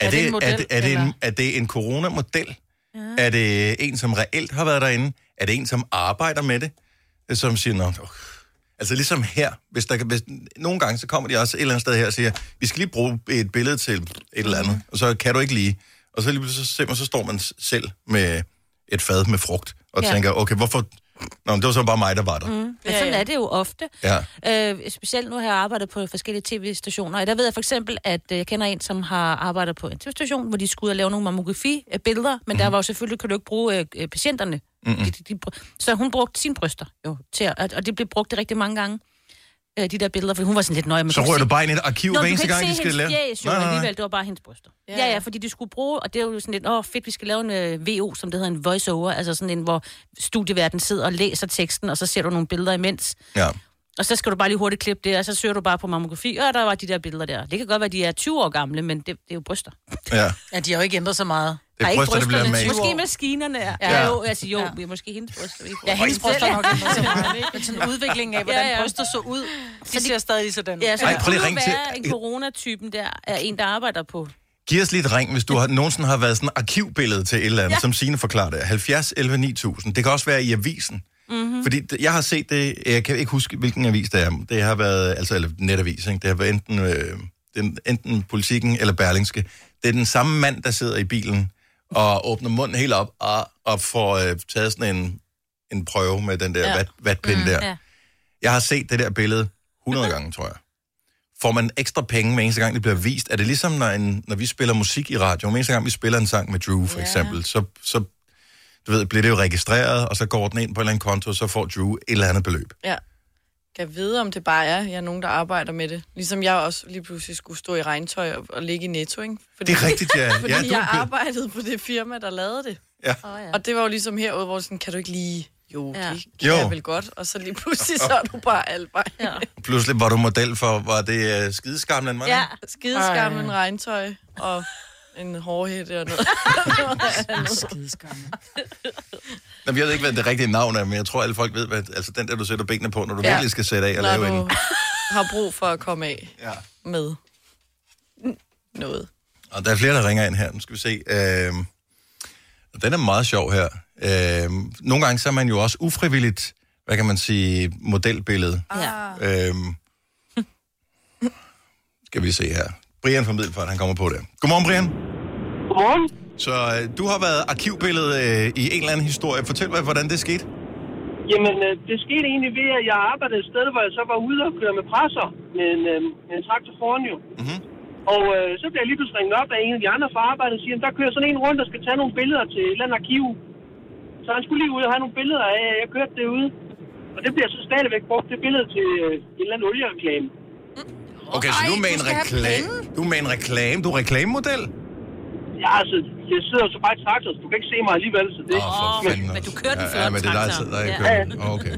[SPEAKER 1] Er,
[SPEAKER 6] det en
[SPEAKER 1] er,
[SPEAKER 6] model,
[SPEAKER 1] det, er, det en,
[SPEAKER 6] eller?
[SPEAKER 1] er det en coronamodel? Ja. Er det en, som reelt har været derinde? Er det en, som arbejder med det? Øh, Som siger, Nå, øh. altså ligesom her, hvis der kan, hvis, nogle gange så kommer de også et eller andet sted her og siger, vi skal lige bruge et billede til et eller andet, og så kan du ikke lige. Og så lige pludselig så, ser man, så står man s- selv med et fad med frugt, og
[SPEAKER 3] Ja.
[SPEAKER 1] ja. tænker, okay, hvorfor... Nå, men det var så bare mig, der var der.
[SPEAKER 3] Mm.
[SPEAKER 1] Mm.
[SPEAKER 3] Men sådan er det jo ofte.
[SPEAKER 1] Ja.
[SPEAKER 3] Øh, specielt nu har jeg arbejdet på forskellige tv-stationer, og der ved jeg for eksempel, at øh, jeg kender en, som har arbejdet på en tv-station, hvor de skulle ud og lave nogle mammografi-billeder, men
[SPEAKER 1] Mhm.
[SPEAKER 3] mm. der var jo selvfølgelig, kan du ikke bruge øh, øh, patienterne.
[SPEAKER 9] Mm-mm.
[SPEAKER 3] De, de, de, br- så hun brugte sine bryster jo, til at, og- og det blev brugt rigtig mange gange, øh, de der billeder, for hun var sådan lidt nøje. man
[SPEAKER 1] Så
[SPEAKER 3] kunne
[SPEAKER 1] rører
[SPEAKER 3] se-
[SPEAKER 1] du bare ind i et arkiv
[SPEAKER 3] Nå,
[SPEAKER 1] hver
[SPEAKER 3] men du
[SPEAKER 1] eneste
[SPEAKER 3] kan
[SPEAKER 1] gang,
[SPEAKER 3] ikke
[SPEAKER 1] de
[SPEAKER 3] se
[SPEAKER 1] skal
[SPEAKER 3] hendes
[SPEAKER 1] lave.
[SPEAKER 3] Fjæs, jo,
[SPEAKER 1] Nej, nej, nej.
[SPEAKER 3] alligevel, det var bare hendes bryster. Ja, ja, ja, fordi de skulle bruge, og det er jo sådan lidt, åh fedt, vi skal lave en øh, VO, som det hedder en voiceover, altså sådan en, hvor studieverden sidder og læser teksten, og så ser du nogle billeder imens.
[SPEAKER 1] Ja.
[SPEAKER 3] Og så skal du bare lige hurtigt klippe det, og så søger du bare på mammografi, og der var de der billeder der. Det kan godt være, at de er 20 år gamle, men det, det er jo bryster.
[SPEAKER 1] Ja.
[SPEAKER 6] Ja, de har jo ikke ændret så meget.
[SPEAKER 1] Det er
[SPEAKER 3] ikke
[SPEAKER 1] bryster, der bliver
[SPEAKER 3] brysterne,
[SPEAKER 1] malet.
[SPEAKER 3] Måske maskinerne er.
[SPEAKER 6] Ja.
[SPEAKER 3] Ja. Jo, altså jo, ja. måske hendes bryster. vi ikke
[SPEAKER 6] Ja,
[SPEAKER 3] bruger.
[SPEAKER 6] hendes bryster er nok
[SPEAKER 3] Selv.
[SPEAKER 6] ændret så meget. ikke? Men sådan udviklingen af, hvordan
[SPEAKER 3] Ja,
[SPEAKER 6] ja,
[SPEAKER 3] ja.
[SPEAKER 6] ja. bryster så ud, de ser stadig sådan ud.
[SPEAKER 3] Ja, så
[SPEAKER 1] Ej,
[SPEAKER 3] Ej, det
[SPEAKER 1] prøv lige
[SPEAKER 3] kunne
[SPEAKER 1] at ringe til-
[SPEAKER 3] være, en coronatypen der er en, der arbejder på
[SPEAKER 1] Giv os lige et ring, hvis du har, nogensinde har været sådan et arkivbillede til et eller andet, ja.
[SPEAKER 3] Ja.
[SPEAKER 1] som Signe forklarer det. 70 11 9000. Det kan også være i avisen. Mm-hmm. Fordi d- jeg har set det, jeg kan ikke huske, hvilken avis det er. Det har været, altså eller netavis, ikke? det har været enten, øh, den, enten Politiken eller Berlingske. Det er den samme mand, der sidder i bilen og åbner munden helt op og, og får øh, taget sådan en, en prøve med den der ja. Mhm.
[SPEAKER 10] Ja.
[SPEAKER 1] vat, vatpind mm, der.
[SPEAKER 10] ja.
[SPEAKER 1] Jeg har set det der billede 100 gange, tror jeg. Får man ekstra penge hver eneste gang, det bliver vist? Er det ligesom, når, en, når vi spiller musik i radio? Hver eneste gang, vi spiller en sang med Drew, for
[SPEAKER 10] Ja.
[SPEAKER 1] eksempel, så, så du ved, bliver det jo registreret, og så går den ind på en eller anden konto, og så får Drew et eller andet beløb.
[SPEAKER 4] Ja. Kan vide, om det bare er, jeg er nogen, der arbejder med det. Ligesom jeg også lige pludselig skulle stå i regntøj og, og ligge i netto, ikke?
[SPEAKER 1] Det er rigtigt, ja.
[SPEAKER 4] Fordi
[SPEAKER 1] Ja, du er
[SPEAKER 4] jeg
[SPEAKER 1] blevet-
[SPEAKER 4] arbejdede på det firma, der lavede det.
[SPEAKER 1] Ja.
[SPEAKER 4] Oh, ja. Og det var jo ligesom herude, hvor sådan, kan du ikke lige... Jo, ja. det kan
[SPEAKER 1] Jo.
[SPEAKER 4] jo. jeg vel godt. Og så lige pludselig, så er du bare alvej. Ja.
[SPEAKER 1] Pludselig var du model for, var det uh, skideskamlen, var det?
[SPEAKER 4] ja. Skideskammen,
[SPEAKER 1] Ej.
[SPEAKER 4] regntøj og en hårhætte og noget. Skideskammen.
[SPEAKER 1] Nå, men Jeg ved ikke, hvad det rigtige navn er, men jeg tror, alle folk ved, hvad, altså den der, du sætter benene på, når du ja.
[SPEAKER 4] Ja.
[SPEAKER 1] virkelig skal sætte af og
[SPEAKER 4] Når
[SPEAKER 1] lave
[SPEAKER 4] du
[SPEAKER 1] en.
[SPEAKER 4] har brug for at komme af
[SPEAKER 1] ja.
[SPEAKER 4] med noget.
[SPEAKER 1] Og der er flere, der ringer ind her. Nu skal vi se. Øhm, og den er meget sjov her. Øhm, nogle gange så er man jo også ufrivilligt, hvad kan man sige, modelbillede.
[SPEAKER 3] Ja.
[SPEAKER 1] Øhm, skal vi se her. Brian fra Middelfart, han kommer på det. Godmorgen, Brian. Godmorgen. Så øh, du har været arkivbillede øh, i en eller anden historie. Fortæl mig, hvordan det skete.
[SPEAKER 11] Jamen, øh, det skete egentlig ved, at jeg arbejdede et sted, hvor jeg så var ude og køre med presser med en, øh, med en traktor foran jo. Mm-hmm. Og øh, så bliver jeg lige pludselig ringet op af en af de andre fra arbejdet og siger, "Jamen, der kører sådan en rundt, der skal tage nogle billeder til et eller andet arkiv. Så han skulle lige ud og have nogle billeder af, at jeg kørte derude. Og det bliver så stadigvæk brugt, det billede til øh, en eller anden oliereklame.
[SPEAKER 1] Okay, så du er med en reklame. Du er med en reklame. Du er reklamemodel.
[SPEAKER 11] Ja, altså, jeg sidder jo så bare i traktor, så du kan ikke se mig alligevel, så det... Åh,
[SPEAKER 1] for fanden altså.
[SPEAKER 11] Men
[SPEAKER 3] du kørte
[SPEAKER 1] Ja, ja, men det er dig, der, der
[SPEAKER 11] Ja.
[SPEAKER 1] kører. den. Okay.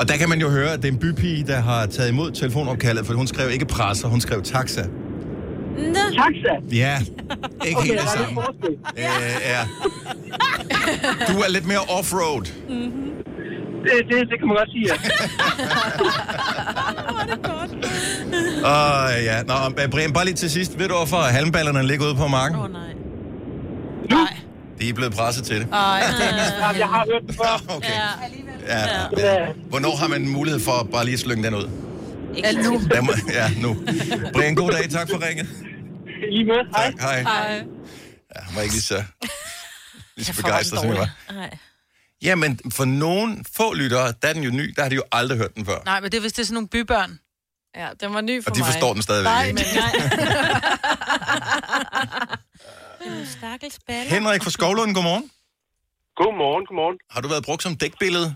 [SPEAKER 1] Og der kan man jo høre, at det er en bypige, der har taget imod telefonopkaldet, for hun skrev ikke presser, hun skrev taxa.
[SPEAKER 11] Nå. Taxa.
[SPEAKER 1] Ja, ikke okay, helt det
[SPEAKER 11] der er
[SPEAKER 1] samme.
[SPEAKER 11] lidt forskel.
[SPEAKER 1] Øh, ja. Du er lidt mere offroad.
[SPEAKER 11] Det, det, det kan man godt sige, ja.
[SPEAKER 1] Åh, ja. Nå, men Brian, bare lige til sidst. Ved du, hvorfor halmballerne ligger ude på marken? Åh, oh, nej. Nu? De er blevet presset til det.
[SPEAKER 6] Ej,
[SPEAKER 11] jeg har hørt det øh,
[SPEAKER 1] før. Okay. Ja. ja. Hvornår har man mulighed for at bare lige at slynge den ud?
[SPEAKER 6] Alt nu.
[SPEAKER 1] Der må- Ja, nu. Brian, god dag. Tak for ringet.
[SPEAKER 11] I med. Hej.
[SPEAKER 1] Tak, hej.
[SPEAKER 6] Hej.
[SPEAKER 1] Ja, han var ikke lige så, lige så
[SPEAKER 6] Jeg får den
[SPEAKER 1] begejstret, som jeg var.
[SPEAKER 3] Nej.
[SPEAKER 1] Jamen, for nogen få lyttere, der er den jo ny, der har de jo aldrig hørt den før.
[SPEAKER 6] Nej, men det er hvis det er sådan nogle bybørn.
[SPEAKER 4] Ja, den var ny for
[SPEAKER 1] Og de
[SPEAKER 4] mig.
[SPEAKER 1] forstår den stadigvæk
[SPEAKER 4] Nej,
[SPEAKER 1] ikke.
[SPEAKER 4] Men, nej.
[SPEAKER 3] Stakkels baller.
[SPEAKER 1] Henrik fra Skovlund, godmorgen.
[SPEAKER 12] Godmorgen, godmorgen.
[SPEAKER 1] Har du været brugt som dækbillede?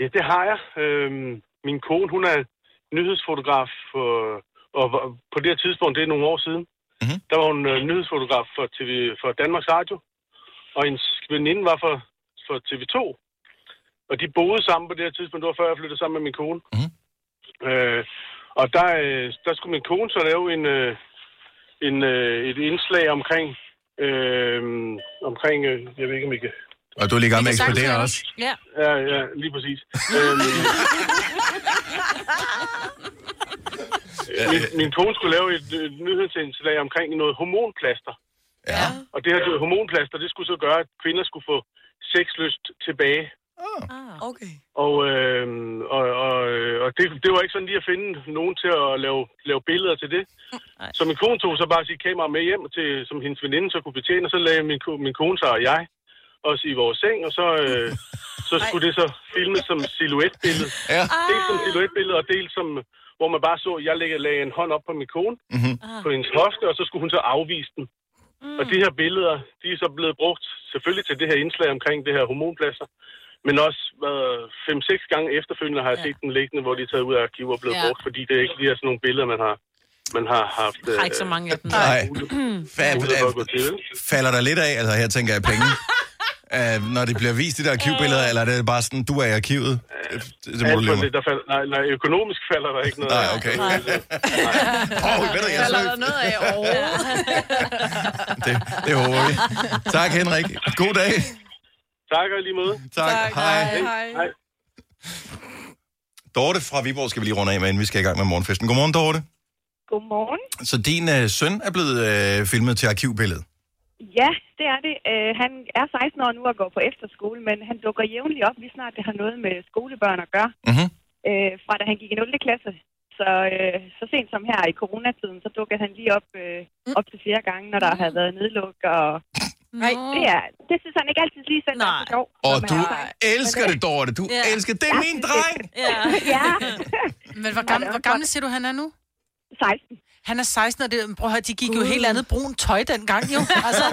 [SPEAKER 12] Ja, det har jeg. Øhm, min kone, hun er nyhedsfotograf, øh, og var- på det her tidspunkt, det er nogle år siden, mm-hmm. der var hun øh, nyhedsfotograf for, TV, for Danmarks Radio. og hendes veninde var for, for TV2. Og de boede sammen på det her tidspunkt, det var før jeg flyttede sammen med min kone. Mm. Øh, og der, øh, der skulle min kone så lave en, øh, en, øh, et indslag omkring, øh, omkring øh, jeg ved ikke om I kan...
[SPEAKER 1] Og du er lige i gang med at eksplodere også.
[SPEAKER 12] Ja. Ja, ja, lige præcis. øhm, min, min kone skulle lave et, et nyhedsindslag omkring noget hormonplaster.
[SPEAKER 1] Ja.
[SPEAKER 12] Og det her det, hormonplaster, det skulle så gøre, at kvinder skulle få sexlyst tilbage.
[SPEAKER 4] Ah, okay.
[SPEAKER 12] Og, øh, og, og, og det, det var ikke sådan lige at finde nogen til at lave, lave billeder til det. Så min kone tog så bare sit kamera med hjem, til, som hendes veninde så kunne betjene, og så lagde min, ko- min kone sig og jeg os i vores seng, og så, øh, så skulle det så filmes som silhuetbillede.
[SPEAKER 1] Ja.
[SPEAKER 12] Dels som silhuetbillede, og dels som, hvor man bare så, at jeg lagde, lagde en hånd op på min kone, Ah.
[SPEAKER 1] mm-hmm.
[SPEAKER 12] på hendes hofte, og så skulle hun så afvise den. Mm. Og de her billeder, de er så blevet brugt selvfølgelig til det her indslag omkring det her hormonpladser, men også øh, 5-6 gange efterfølgende har jeg set den liggende, hvor de er taget ud af arkiver og blevet
[SPEAKER 6] Ja.
[SPEAKER 12] ja. brugt, fordi det er ikke de her sådan nogle billeder, man har, man har haft... øh,
[SPEAKER 6] Der er ikke så mange af dem.
[SPEAKER 1] Nej.
[SPEAKER 12] Fab,
[SPEAKER 1] Falder der lidt af? Altså, her tænker jeg penge. Uh, når det bliver vist i de der arkivbilleder, eller er det bare sådan, du er i arkivet? Det, det må du leve
[SPEAKER 12] Alt for lidt,
[SPEAKER 1] med.
[SPEAKER 12] Altså, der falder, nej, nej, økonomisk falder der ikke noget.
[SPEAKER 1] Nej, okay.
[SPEAKER 12] Nej.
[SPEAKER 1] Åh, ved du, jeg
[SPEAKER 4] Falder
[SPEAKER 1] søg-
[SPEAKER 4] der noget af overhovedet?
[SPEAKER 1] Det, det håber vi. Tak, Henrik. God dag.
[SPEAKER 12] Tak og i lige måde.
[SPEAKER 1] Tak. tak. Hej.
[SPEAKER 4] Hej.
[SPEAKER 12] Hej.
[SPEAKER 1] Dorte fra Viborg skal vi lige runde af med, inden vi skal i gang med morgenfesten. Godmorgen, Dorte.
[SPEAKER 9] Godmorgen.
[SPEAKER 1] Så din øh, søn er blevet øh, filmet til arkivbilledet.
[SPEAKER 9] Ja, det er det. Øh, han er 16 år nu og går på efterskole, men han dukker jævnligt op, lige snart det har noget med skolebørn at gøre.
[SPEAKER 1] Mm-hmm.
[SPEAKER 9] Øh, fra da han gik i 0. klasse. Så, øh, så sent som her i coronatiden, så dukkede han lige op, øh, op til flere gange, når der har været nedluk. Og... Nej, det, er, det synes han ikke altid lige selv er så sjovt.
[SPEAKER 1] Og
[SPEAKER 9] når man
[SPEAKER 1] du
[SPEAKER 9] er sej.
[SPEAKER 1] elsker det, Dorte. Du elsker det. Det er min dreng.
[SPEAKER 6] Ja.
[SPEAKER 9] ja.
[SPEAKER 6] Men hvor gammel, hvor gammel siger du, han er nu?
[SPEAKER 9] 16.
[SPEAKER 6] Han er 16, og det, prøv at høre, de gik jo helt andet brun tøj dengang, jo. Altså.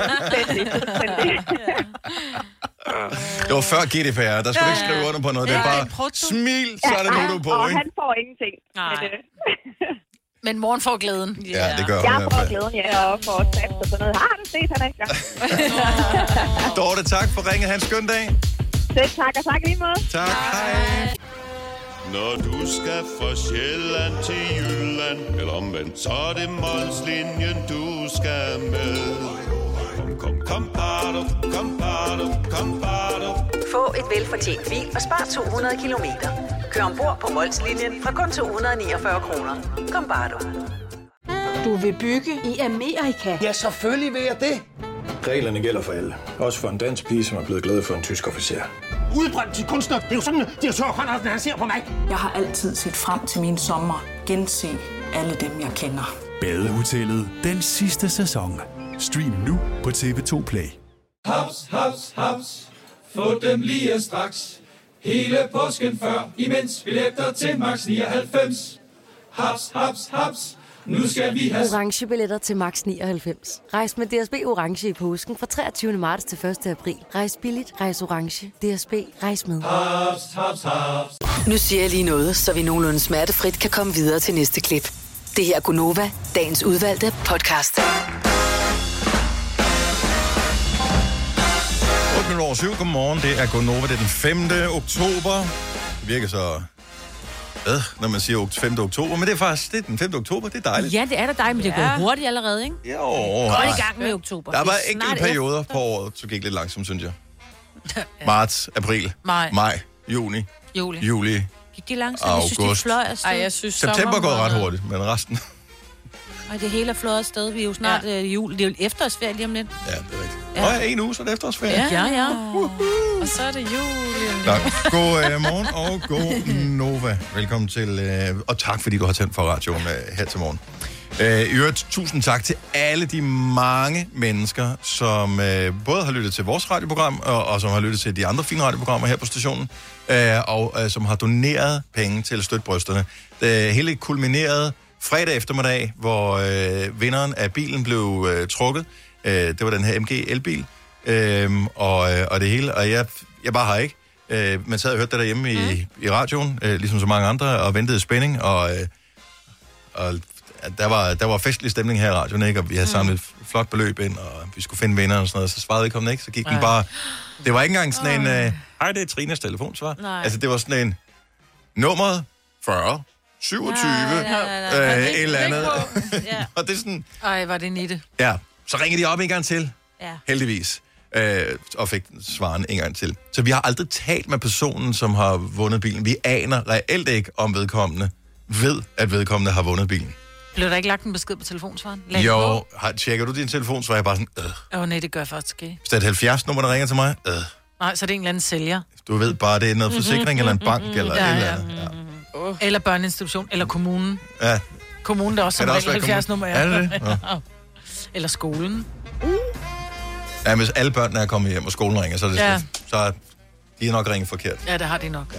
[SPEAKER 1] Det var før GDPR. Der skulle du ikke skrive under på noget. Det er
[SPEAKER 6] Ja,
[SPEAKER 1] bare,
[SPEAKER 6] en proto.
[SPEAKER 1] smil, så er det nu, du er på, ikke?
[SPEAKER 9] får ingenting. øh,
[SPEAKER 6] Nej. Men morgen får glæden.
[SPEAKER 1] Ja, det gør hun i
[SPEAKER 9] Jeg
[SPEAKER 1] hvert
[SPEAKER 9] får
[SPEAKER 1] fald.
[SPEAKER 9] glæden, ja, og får tabs og sådan noget. Har du set, han er i gang.
[SPEAKER 1] Dorte, tak for ringet. Ha' en skøn dag.
[SPEAKER 9] Selv tak, og tak i lige måde.
[SPEAKER 1] Tak. Hej.
[SPEAKER 10] Når du skal fra Sjælland til Jylland Eller omvendt, så er det Molslinjen, du skal med Kom, kom, kom, bado, kom, bado, kom, bado.
[SPEAKER 13] Få et velfortjent bil og spar 200 kilometer. Kør ombord på Molslinjen fra kun 249 kroner. Kom bare du.
[SPEAKER 14] Du vil bygge i Amerika? Ja, selvfølgelig vil jeg det.
[SPEAKER 15] Reglerne gælder for alle. Også for en dansk pige, som er blevet glad for en tysk officer.
[SPEAKER 14] Udbrændt til kunstner. Det er jo sådan, at de har tørt, han ser på mig. Jeg har altid set frem til min sommer. Gense alle dem, jeg kender.
[SPEAKER 16] Badehotellet den sidste sæson. Stream nu på TV2 Play.
[SPEAKER 17] Haps, haps, haps. Få dem lige straks. Hele påsken før, imens billetter til max 99. Haps, haps, haps. Nu skal vi have
[SPEAKER 8] Orange billetter til max 99. Rejs med DSB Orange i påsken fra 23. marts til 1. april. Rejs billigt, rejs orange. DSB, rejs med.
[SPEAKER 17] haps, haps, haps.
[SPEAKER 13] Nu siger jeg lige noget, så vi nogenlunde smertefrit kan komme videre til næste klip. Det her er Gunova, dagens udvalgte podcast.
[SPEAKER 1] 8 minutter over 7. Godmorgen. Det er Gonova. Det er den 5. oktober. Det virker så... Hvad, når man siger okt- 5. oktober? Men det er faktisk det er den 5. oktober. Det er dejligt.
[SPEAKER 3] Ja, det er da dig, men det er
[SPEAKER 1] Ja.
[SPEAKER 3] gået hurtigt allerede, ikke?
[SPEAKER 1] Jo.
[SPEAKER 3] Godt i gang med oktober.
[SPEAKER 1] Der
[SPEAKER 3] Det
[SPEAKER 1] var
[SPEAKER 3] er snart
[SPEAKER 1] enkelte perioder på året, så gik lidt langsomt, synes jeg. Marts, april,
[SPEAKER 3] Maj.
[SPEAKER 1] maj juni,
[SPEAKER 6] Juli.
[SPEAKER 1] juli.
[SPEAKER 3] Gik de langsomt? Jeg synes, de
[SPEAKER 1] August.
[SPEAKER 3] fløj afsted.
[SPEAKER 6] Ej, jeg synes,
[SPEAKER 1] September går ret hurtigt, men resten...
[SPEAKER 3] Og det hele er fløjet afsted. Vi er jo snart ja. øh, jul. Det er jo efterårsferie lige om lidt.
[SPEAKER 1] Ja, det er rigtigt. Ja. Og en uge, så er det efterårsferie.
[SPEAKER 3] Ja, ja. ja.
[SPEAKER 4] Og så er det jul.
[SPEAKER 1] Nå, god øh, morgen og god Nova. Velkommen til, øh, og tak fordi du har tændt for radioen øh, her til morgen. Øh, I øvrigt, tusind tak til alle de mange mennesker, som øh, både har lyttet til vores radioprogram, og, og som har lyttet til de andre fine radioprogrammer her på stationen, øh, og øh, som har doneret penge til Støt Brysterne. Det hele kulminerede fredag eftermiddag, hvor øh, vinderen af bilen blev øh, trukket. Øh, det var den her MG elbil, øh, og, øh, og det hele. Og jeg, jeg bare har ikke. Øh, man sad og hørte det
[SPEAKER 6] Mm.
[SPEAKER 1] derhjemme i, i radioen, øh, ligesom så mange andre, og ventede i spænding, og... Øh, og at der, var, der var festlig stemning her i radioen, ikke? og
[SPEAKER 6] Mm.
[SPEAKER 1] vi havde samlet et flot beløb ind, og vi skulle finde vinder og sådan noget, så svarede ikke ikke, så gik den
[SPEAKER 18] Nej.
[SPEAKER 1] bare... Det var ikke engang sådan en, øh, hej, det er Trinas telefonsvar.
[SPEAKER 18] Nej.
[SPEAKER 1] Altså, det var sådan en, nummeret 40, 27,
[SPEAKER 6] Nej, nej, nej, nej.
[SPEAKER 1] øh,
[SPEAKER 6] Ring-
[SPEAKER 1] et eller
[SPEAKER 6] ring
[SPEAKER 1] andet.
[SPEAKER 6] Ja.
[SPEAKER 1] og det er sådan,
[SPEAKER 6] Ej, var det nitte.
[SPEAKER 1] ja, så ringer de op en gang til,
[SPEAKER 6] Ja.
[SPEAKER 1] heldigvis, øh, og fik svaren en gang til. Så vi har aldrig talt med personen, som har vundet bilen. Vi aner reelt ikke, om vedkommende ved, at vedkommende har vundet bilen.
[SPEAKER 6] Blev der ikke lagt en besked på telefonsvaren? Lag den på.
[SPEAKER 1] Jo, har, tjekker du din telefon, så er jeg bare sådan, øh,
[SPEAKER 6] Åh, oh, nej, det gør jeg faktisk ikke.
[SPEAKER 1] hvis det er et 70 nummer, der ringer til mig, øh,
[SPEAKER 6] Nej, så er det en eller anden sælger.
[SPEAKER 1] du ved bare, det er noget forsikring eller en bank eller
[SPEAKER 6] Mm-hmm, Ja,
[SPEAKER 1] et
[SPEAKER 6] ja.
[SPEAKER 1] eller andet.
[SPEAKER 6] Uh. Eller børneinstitution, eller kommunen.
[SPEAKER 1] Ja.
[SPEAKER 6] Kommunen, der også
[SPEAKER 1] Kan
[SPEAKER 6] som
[SPEAKER 1] det
[SPEAKER 6] regel 70
[SPEAKER 1] også være
[SPEAKER 6] nummer.
[SPEAKER 1] kommunen? Er det det? Nå.
[SPEAKER 6] Eller skolen.
[SPEAKER 1] ja, hvis alle børnene er kommet hjem, og skolen ringer, så er det
[SPEAKER 6] Ja.
[SPEAKER 1] ja. så er de er nok ringet forkert.
[SPEAKER 6] Ja, det har de nok.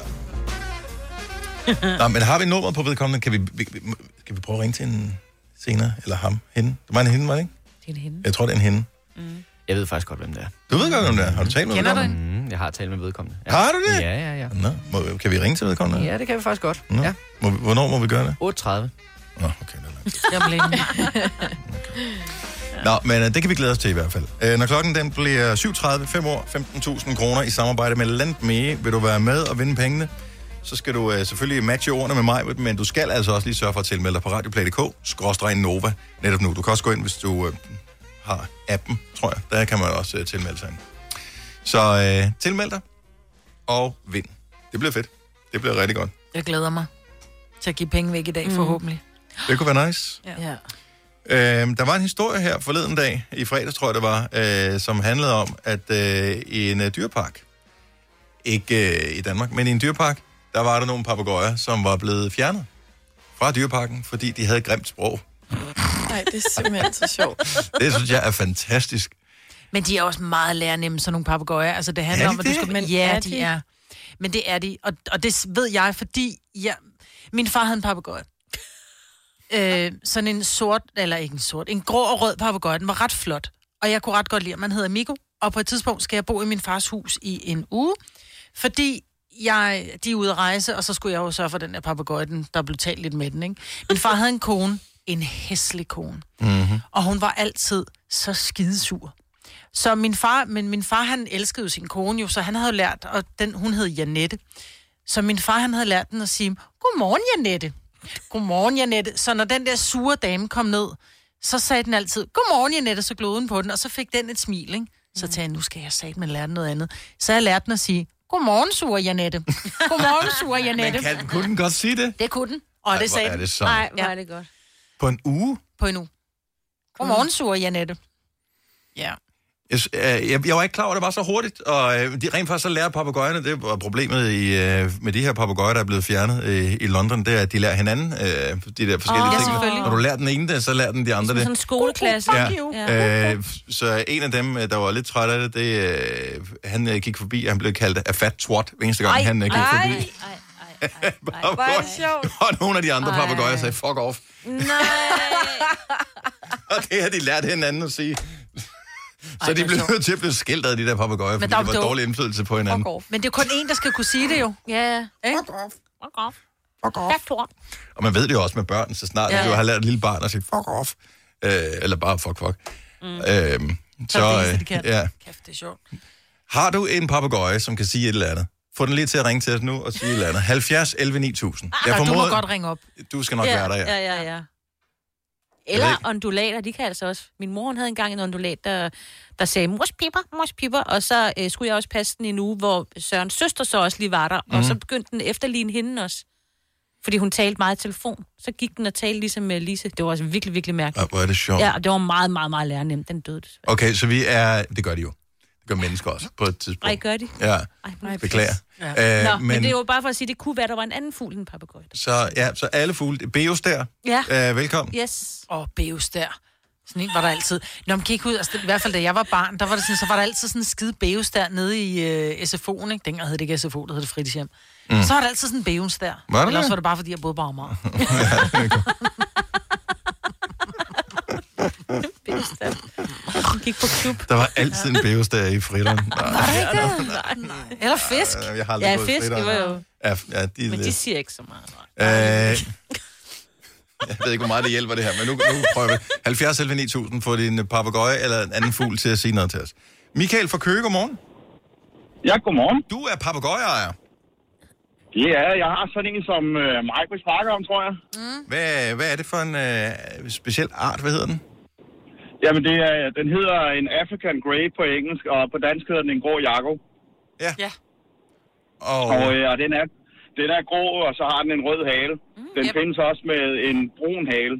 [SPEAKER 1] Nå, men har vi nummeret på vedkommende? Kan vi, vi, vi, kan vi prøve at ringe til en senere? Eller ham? Hende? Det var en hende, var det ikke?
[SPEAKER 3] Det er en hende.
[SPEAKER 1] Jeg tror, det er en hende.
[SPEAKER 19] Mm. Jeg ved faktisk godt, hvem det er.
[SPEAKER 1] Du ved godt, hvem det er. Har du talt med
[SPEAKER 19] Kender
[SPEAKER 1] vedkommende?
[SPEAKER 19] Mm, jeg har talt med vedkommende.
[SPEAKER 1] Ja. Har du det?
[SPEAKER 19] Ja, ja, ja.
[SPEAKER 1] Nå, må, kan vi ringe til vedkommende?
[SPEAKER 19] Ja, det kan vi faktisk godt.
[SPEAKER 1] Nå.
[SPEAKER 19] Ja.
[SPEAKER 1] Må, vi- hvornår må vi gøre det?
[SPEAKER 19] 38.
[SPEAKER 6] Jeg blev
[SPEAKER 1] Nå, men øh, det kan vi glæde os til i hvert fald. Øh, når klokken den bliver 7.30, 5 år, 15.000 kroner i samarbejde med Landmee, vil du være med og vinde pengene? Så skal du øh, selvfølgelig matche ordene med mig, men du skal altså også lige sørge for at tilmelde dig på radioplay.dk, skråstreg Nova, netop nu. Du kan også gå ind, hvis du øh, har appen, tror jeg. Der kan man også øh, tilmelde sig ind. Så øh, tilmeld dig og vind. Det bliver fedt. Det bliver rigtig godt.
[SPEAKER 6] Jeg glæder mig til at give penge væk i dag, mm. forhåbentlig.
[SPEAKER 1] Det kunne være nice.
[SPEAKER 6] Ja.
[SPEAKER 1] Øhm, der var en historie her forleden dag, i fredags tror jeg det var, øh, som handlede om, at øh, i en øh, dyrepark, ikke øh, i Danmark, men i en dyrepark, der var der nogle papegøjer, som var blevet fjernet fra dyreparken, fordi de havde et grimt sprog.
[SPEAKER 4] Nej, det er simpelthen så sjovt.
[SPEAKER 1] Det synes jeg er fantastisk.
[SPEAKER 6] Men de er også meget lærernemme, sådan nogle papegøjer. Altså, det handler
[SPEAKER 1] Er de
[SPEAKER 6] om, at du
[SPEAKER 1] det?
[SPEAKER 6] skal... Men ja, er de? de er. Men det er de. Og, og det s- ved jeg, fordi jeg... min far havde en papegøje. Øh, sådan en sort, eller ikke en sort, en grå og rød papegøje. Den var ret flot. Og jeg kunne ret godt lide, at man hedder Miko. Og på et tidspunkt skal jeg bo i min fars hus i en uge, fordi jeg, de er ude at rejse, og så skulle jeg jo sørge for den der papegøje, den- der blev talt lidt med den, ikke? Min far havde en kone, en hæslig kone.
[SPEAKER 18] Mm-hmm.
[SPEAKER 6] Og hun var altid så skidesur. Så min far, men min far han elskede jo sin kone jo, så han havde jo lært, og den, hun hed Janette. Så min far han havde lært den at sige, godmorgen Janette. Godmorgen Janette. Så når den der sure dame kom ned, så sagde den altid, godmorgen Janette, så glodede hun på den, og så fik den et smil, ikke?
[SPEAKER 1] Mm.
[SPEAKER 6] Så tænkte jeg, nu skal jeg sagt, men lære den noget andet. Så jeg lærte den at sige, godmorgen sure Janette. Godmorgen sure Janette.
[SPEAKER 1] Men kan, kunne den godt sige det?
[SPEAKER 6] Det kunne den. Og
[SPEAKER 1] Ej,
[SPEAKER 6] det
[SPEAKER 1] hvor
[SPEAKER 6] sagde
[SPEAKER 1] er
[SPEAKER 6] den.
[SPEAKER 1] det sejt. Ej,
[SPEAKER 6] hvor er det godt.
[SPEAKER 1] På en uge?
[SPEAKER 6] På en uge.
[SPEAKER 1] Mm.
[SPEAKER 6] Godmorgen sure Janette. Ja.
[SPEAKER 1] Jeg, s- øh, jeg, jeg var ikke klar over, at det var så hurtigt, og øh, de rent faktisk så lærer papegøjerne, det var problemet i, øh, med de her papegøjer, der er blevet fjernet øh, i London, det er, at de lærer hinanden øh, de der forskellige
[SPEAKER 3] Åh. Ja,
[SPEAKER 1] ting.
[SPEAKER 3] selvfølgelig.
[SPEAKER 1] Når du lærer den ene det, så lærer den de andre
[SPEAKER 3] Som
[SPEAKER 1] det.
[SPEAKER 3] sådan en skoleklasse.
[SPEAKER 1] Ja. Øh, så en af dem, øh, der var lidt træt af det, det øh, han øh, gik forbi, og han blev kaldt af fat twat, hver eneste gang han øh, gik
[SPEAKER 18] ej,
[SPEAKER 1] forbi.
[SPEAKER 18] ej,
[SPEAKER 1] Bare
[SPEAKER 18] hvor er det
[SPEAKER 1] for-
[SPEAKER 18] sjovt.
[SPEAKER 1] Og nogle af de andre
[SPEAKER 18] Ej.
[SPEAKER 1] papegøjer sagde, fuck off.
[SPEAKER 18] Nej.
[SPEAKER 1] Og det har de lært hinanden at sige. så de blev nødt til at blive skilt af de der papegøjer, fordi
[SPEAKER 6] der
[SPEAKER 1] det
[SPEAKER 6] var
[SPEAKER 1] var
[SPEAKER 6] dog-
[SPEAKER 1] dårlig indflydelse på hinanden.
[SPEAKER 6] Men det er kun én, der skal kunne sige det jo. Ja. Fuck off. Fuck off. Fuck off.
[SPEAKER 1] Og man ved det jo også med børn, så snart
[SPEAKER 6] Ja.
[SPEAKER 1] ja. du har lært et lille barn at sige, fuck off, øh, eller bare fuck, fuck. Mm. Øhm,
[SPEAKER 6] Så er det
[SPEAKER 1] øh,
[SPEAKER 6] eneste, de kan.
[SPEAKER 1] ja.
[SPEAKER 6] Kæft, det er sjovt.
[SPEAKER 1] Har du en papegøje, som kan sige et eller andet? Få den lige til at ringe til os nu og sige et eller andet. 70 11 9000.
[SPEAKER 3] Ej, Ah, du må godt ringe
[SPEAKER 6] op.
[SPEAKER 1] Du skal nok
[SPEAKER 3] ja,
[SPEAKER 1] være der, ja.
[SPEAKER 3] Ja, ja, ja.
[SPEAKER 1] Jeg
[SPEAKER 3] Eller
[SPEAKER 1] ved
[SPEAKER 3] undulater, de kan altså også. Min mor hun havde engang en ondulat, der, der sagde, mors piper, mors piper. Og så øh, skulle jeg også passe den i en uge, hvor Sørens søster så også lige var der. Mm.
[SPEAKER 1] Mhm.
[SPEAKER 3] Og så begyndte den at efterligne hende også. Fordi hun talte meget i telefon. Så gik den og talte ligesom med Lise. Det var også virkelig, virkelig mærkeligt.
[SPEAKER 1] Ej, hvor er det sjovt.
[SPEAKER 3] Ja, og det var meget, meget, meget lærernemt. Den døde. desværre.
[SPEAKER 1] Okay, så vi er... Det gør de jo. Det gør mennesker også på et tidspunkt.
[SPEAKER 3] Ej, gør de?
[SPEAKER 1] Ja,
[SPEAKER 3] nej,
[SPEAKER 1] beklager.
[SPEAKER 3] Ja.
[SPEAKER 1] Øh,
[SPEAKER 3] Nå, men...
[SPEAKER 1] men-
[SPEAKER 3] men det er jo bare for at sige, det kunne være, der var en anden fugl end papegøje.
[SPEAKER 1] Så, ja, så alle fugle... Beos der.
[SPEAKER 6] Ja.
[SPEAKER 1] Øh, velkommen.
[SPEAKER 3] Yes.
[SPEAKER 6] Og Beos der. Sådan en var der altid. Nå, man kan ikke ud, altså, i hvert fald da jeg var barn, der var det sådan, så var der altid sådan en skide Beos der nede i øh, SFO'en, ikke? Dengang hed det ikke SFO, det hed det fritidshjem. Mm.
[SPEAKER 1] Mm.
[SPEAKER 6] Så var der altid sådan en Beos der.
[SPEAKER 1] Var der
[SPEAKER 6] Eller også
[SPEAKER 1] det?
[SPEAKER 6] var det bare, fordi jeg boede bare meget.
[SPEAKER 3] Hun gik på klub.
[SPEAKER 1] Der var altid en beos der i fritteren. Nej,
[SPEAKER 6] Nej. Eller fisk.
[SPEAKER 1] Øh, jeg har aldrig
[SPEAKER 3] ja,
[SPEAKER 1] gået i
[SPEAKER 3] fisk,
[SPEAKER 1] fritteren.
[SPEAKER 3] jo, jo.
[SPEAKER 1] Ja, f- ja, de, er
[SPEAKER 3] Men de
[SPEAKER 1] lidt-
[SPEAKER 3] siger ikke så meget.
[SPEAKER 1] Øh, Jeg ved ikke, hvor meget det hjælper det her, men nu, nu prøver vi. 70 11 9000 for din papegøje eller en anden fugl til at sige noget til os. Michael fra Køge, godmorgen.
[SPEAKER 7] Ja, godmorgen.
[SPEAKER 1] Du er papegøjeejer.
[SPEAKER 7] Det er, jeg har sådan en, som øh, Michael snakker om, tror jeg.
[SPEAKER 1] Hvad, hvad er det for en øh, speciel art? Hvad hedder den?
[SPEAKER 7] Jamen, det er, den hedder en African Grey på engelsk, og på dansk hedder den en grå jakko.
[SPEAKER 1] Ja.
[SPEAKER 6] ja.
[SPEAKER 1] Og,
[SPEAKER 7] og, øh, og den, er, den er grå, og så har den en rød hale. Mm, den yep. findes også med en brun hale.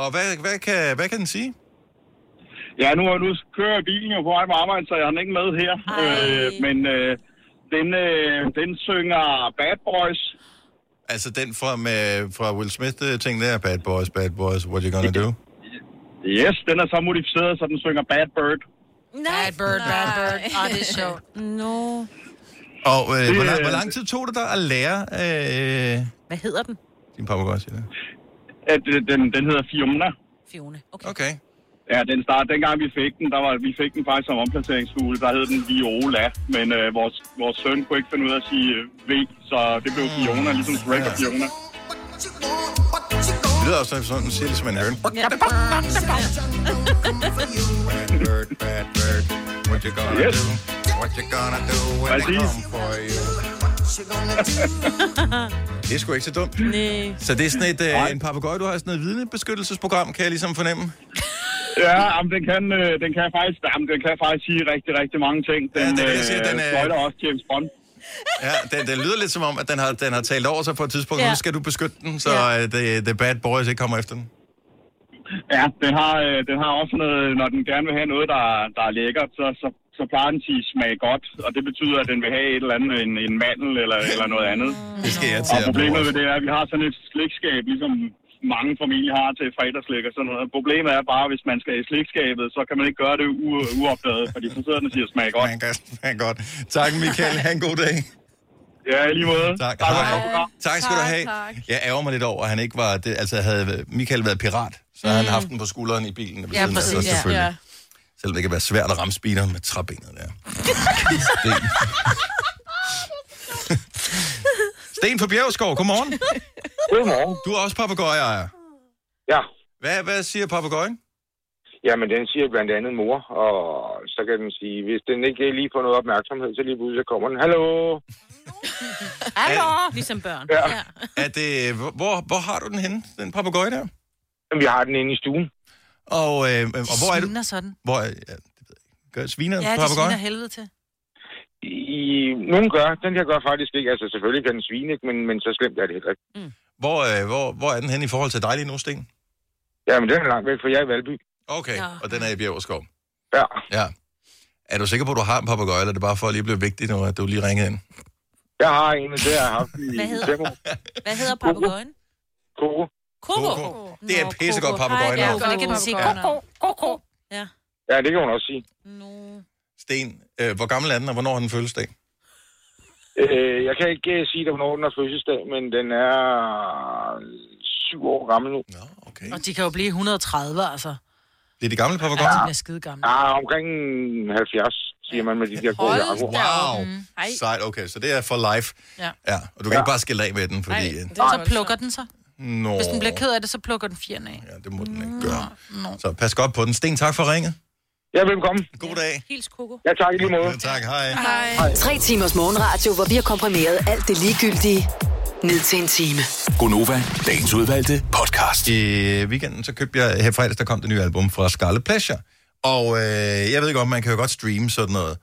[SPEAKER 1] Og hvad, hvad, kan, hvad kan den sige?
[SPEAKER 7] Ja, nu, nu kører bilen jo på vej på arbejde, så jeg har den ikke med her. Øh, men øh, den, øh, den synger Bad Boys.
[SPEAKER 1] Altså den fra, med, fra Will Smith-ting der, Bad Boys, Bad Boys, what you gonna do?
[SPEAKER 7] Yes, den er så modificeret, så den synger Bad Bird.
[SPEAKER 6] Bad bird, bad bird. Ej, det er sjovt. No.
[SPEAKER 1] Og øh,
[SPEAKER 7] Det,
[SPEAKER 1] hvor, lang,
[SPEAKER 7] øh,
[SPEAKER 1] hvor lang tid tog det dig at lære øh,
[SPEAKER 6] Hvad hedder den?
[SPEAKER 1] din papegøje, siger det?
[SPEAKER 7] At, øh, den, den hedder Fiona.
[SPEAKER 6] Fiona.
[SPEAKER 1] Okay. okay.
[SPEAKER 7] Ja, den start, dengang vi fik den, der var, vi fik den faktisk som omplaceringsfugle, der hed den Viola, men øh, vores, vores søn kunne ikke finde ud af at sige øh, V, så det blev Fiona, ligesom Shrek og Fiona.
[SPEAKER 1] Det lyder også sådan, som den siger ligesom en ørn. Bad bird, bad bird, what you gonna
[SPEAKER 7] Yes.
[SPEAKER 1] do? What you gonna do when they
[SPEAKER 7] Præcis.
[SPEAKER 1] come for you? Det er sgu ikke så dumt.
[SPEAKER 6] Nej.
[SPEAKER 1] Så det er sådan et, øh, en papegøje, du har sådan et vidnebeskyttelsesprogram, kan jeg ligesom fornemme.
[SPEAKER 7] Ja, jamen, den, kan, øh, den, kan faktisk, jamen, den kan faktisk sige rigtig, rigtig mange ting. Den, ja,
[SPEAKER 1] det
[SPEAKER 7] det
[SPEAKER 1] er det,
[SPEAKER 7] jeg
[SPEAKER 1] jeg siger, den
[SPEAKER 7] den
[SPEAKER 1] er-
[SPEAKER 7] fløjter også James Bond.
[SPEAKER 1] Ja, den, den lyder lidt som om, at den har, den har talt over sig på et tidspunkt, ja.
[SPEAKER 7] Ja.
[SPEAKER 1] nu skal du beskytte den, så ja. the, the bad boys ikke kommer efter den.
[SPEAKER 7] Ja, den har, øh, den har også noget, når den gerne vil have noget, der, der er lækkert, så, så, så plejer den at sige smag godt, og det betyder, at den vil have et eller andet, en, en mandel eller, eller noget andet.
[SPEAKER 1] Det skal jeg
[SPEAKER 7] Og
[SPEAKER 1] til at
[SPEAKER 7] problemet
[SPEAKER 1] bruge.
[SPEAKER 7] ved det er, at vi har sådan et slikskab, ligesom mange familier har til fredagslik og sådan noget. Problemet er bare, at hvis man skal i slikskabet, så kan man ikke gøre det u- uopdaget, fordi så sidder den og siger, smag godt.
[SPEAKER 1] Man kan smag godt. Tak, Michael. Ha' en god dag.
[SPEAKER 7] Ja, i lige måde.
[SPEAKER 1] Tak.
[SPEAKER 7] Tak for
[SPEAKER 1] Hej.
[SPEAKER 7] et godt program.
[SPEAKER 1] tak skal du
[SPEAKER 7] Tak,
[SPEAKER 1] have.
[SPEAKER 7] tak.
[SPEAKER 1] Jeg ærger mig lidt over, at han ikke var... Det, altså, havde Michael været pirat, så
[SPEAKER 6] Mm.
[SPEAKER 1] havde han haft den på skulderen i bilen. ved siden af sig, selvfølgelig. Selvom det kan være svært at ramme speederen med træbenet der. Sten. Sten fra Bjergskov, godmorgen.
[SPEAKER 20] Godmorgen.
[SPEAKER 1] Du er også papegøjeejer.
[SPEAKER 20] Ja.
[SPEAKER 1] Hvad, hvad siger papegøjen?
[SPEAKER 20] Jamen, den siger blandt andet mor, og så kan den sige, hvis den ikke lige får noget opmærksomhed, så lige pludselig så kommer den, hallo.
[SPEAKER 3] Hallo! Ligesom børn.
[SPEAKER 20] Ja.
[SPEAKER 1] Er det, øh, hvor, hvor har du den henne, den papegøje der?
[SPEAKER 20] Jamen, vi har den inde i stuen.
[SPEAKER 1] Og, øh, og hvor er du?
[SPEAKER 6] Sviner sådan.
[SPEAKER 1] Hvor, er- ja, det ved jeg ikke. Gør sviner
[SPEAKER 6] Ja,
[SPEAKER 1] ja,
[SPEAKER 6] det sviner
[SPEAKER 1] papegøje?
[SPEAKER 6] helvede til.
[SPEAKER 20] I, nogen gør, den her gør faktisk ikke. Altså, selvfølgelig kan den svine, ikke, men, men så slemt er det heller ikke.
[SPEAKER 1] Hvor, øh, hvor, hvor er den henne i forhold til dig lige nu, Sten?
[SPEAKER 20] Jamen, den er langt væk, for jeg er i Valby.
[SPEAKER 1] Okay, ja. og den er i Bjergskov.
[SPEAKER 20] Ja.
[SPEAKER 1] Ja. Er du sikker på, at du har en papegøje, eller er det bare for at lige blive vigtigt, når du lige ringede ind?
[SPEAKER 20] Jeg har en, og det har jeg haft i
[SPEAKER 3] Hvad hedder-
[SPEAKER 20] fem år.
[SPEAKER 3] Hvad hedder papegøjen?
[SPEAKER 20] Koko.
[SPEAKER 3] Koko.
[SPEAKER 1] Det er et pissegodt papegøje.
[SPEAKER 3] Ja, godt, det kan den sige. Koko, koko. Ja.
[SPEAKER 20] Ja, det kan hun også sige.
[SPEAKER 1] Sten, øh, hvor gammel er den, og hvornår har den fødselsdag?
[SPEAKER 20] Øh, jeg kan ikke øh, sige dig, hvornår den har fødselsdag, men den er syv år gammel nu.
[SPEAKER 1] Nå.
[SPEAKER 6] Og de kan jo blive 130, altså.
[SPEAKER 1] Det er de gamle
[SPEAKER 6] Ja,
[SPEAKER 1] papegøjer?
[SPEAKER 6] de bliver skide gamle.
[SPEAKER 20] Ja, Ah, omkring 70, siger man med de der gode jakker.
[SPEAKER 1] Wow. Sejt, okay, så det er for life.
[SPEAKER 6] Mm. Ja.
[SPEAKER 1] Ja, og du kan ja. ikke bare skille af med den, fordi...
[SPEAKER 6] Ej,
[SPEAKER 1] øh,
[SPEAKER 6] det så plukker den så.
[SPEAKER 1] Nå,
[SPEAKER 6] Hvis den bliver ked af det, så plukker den fjerne af.
[SPEAKER 1] Ja, det må den ikke gøre. Så pas godt på den. Sten, tak for ringet.
[SPEAKER 20] Ja, velkommen.
[SPEAKER 1] God dag.
[SPEAKER 3] Hils Koko.
[SPEAKER 20] Ja, tak i lige måde.
[SPEAKER 1] Tak, hej.
[SPEAKER 21] Tre timers morgenradio, hvor vi har komprimeret alt det ligegyldige ned til en time.
[SPEAKER 1] Gonova, dagens udvalgte podcast. I weekenden så købte jeg her fredags, der kom det nye album fra Scarlet Pleasure. Og øh, jeg ved godt, man kan jo godt streame sådan noget.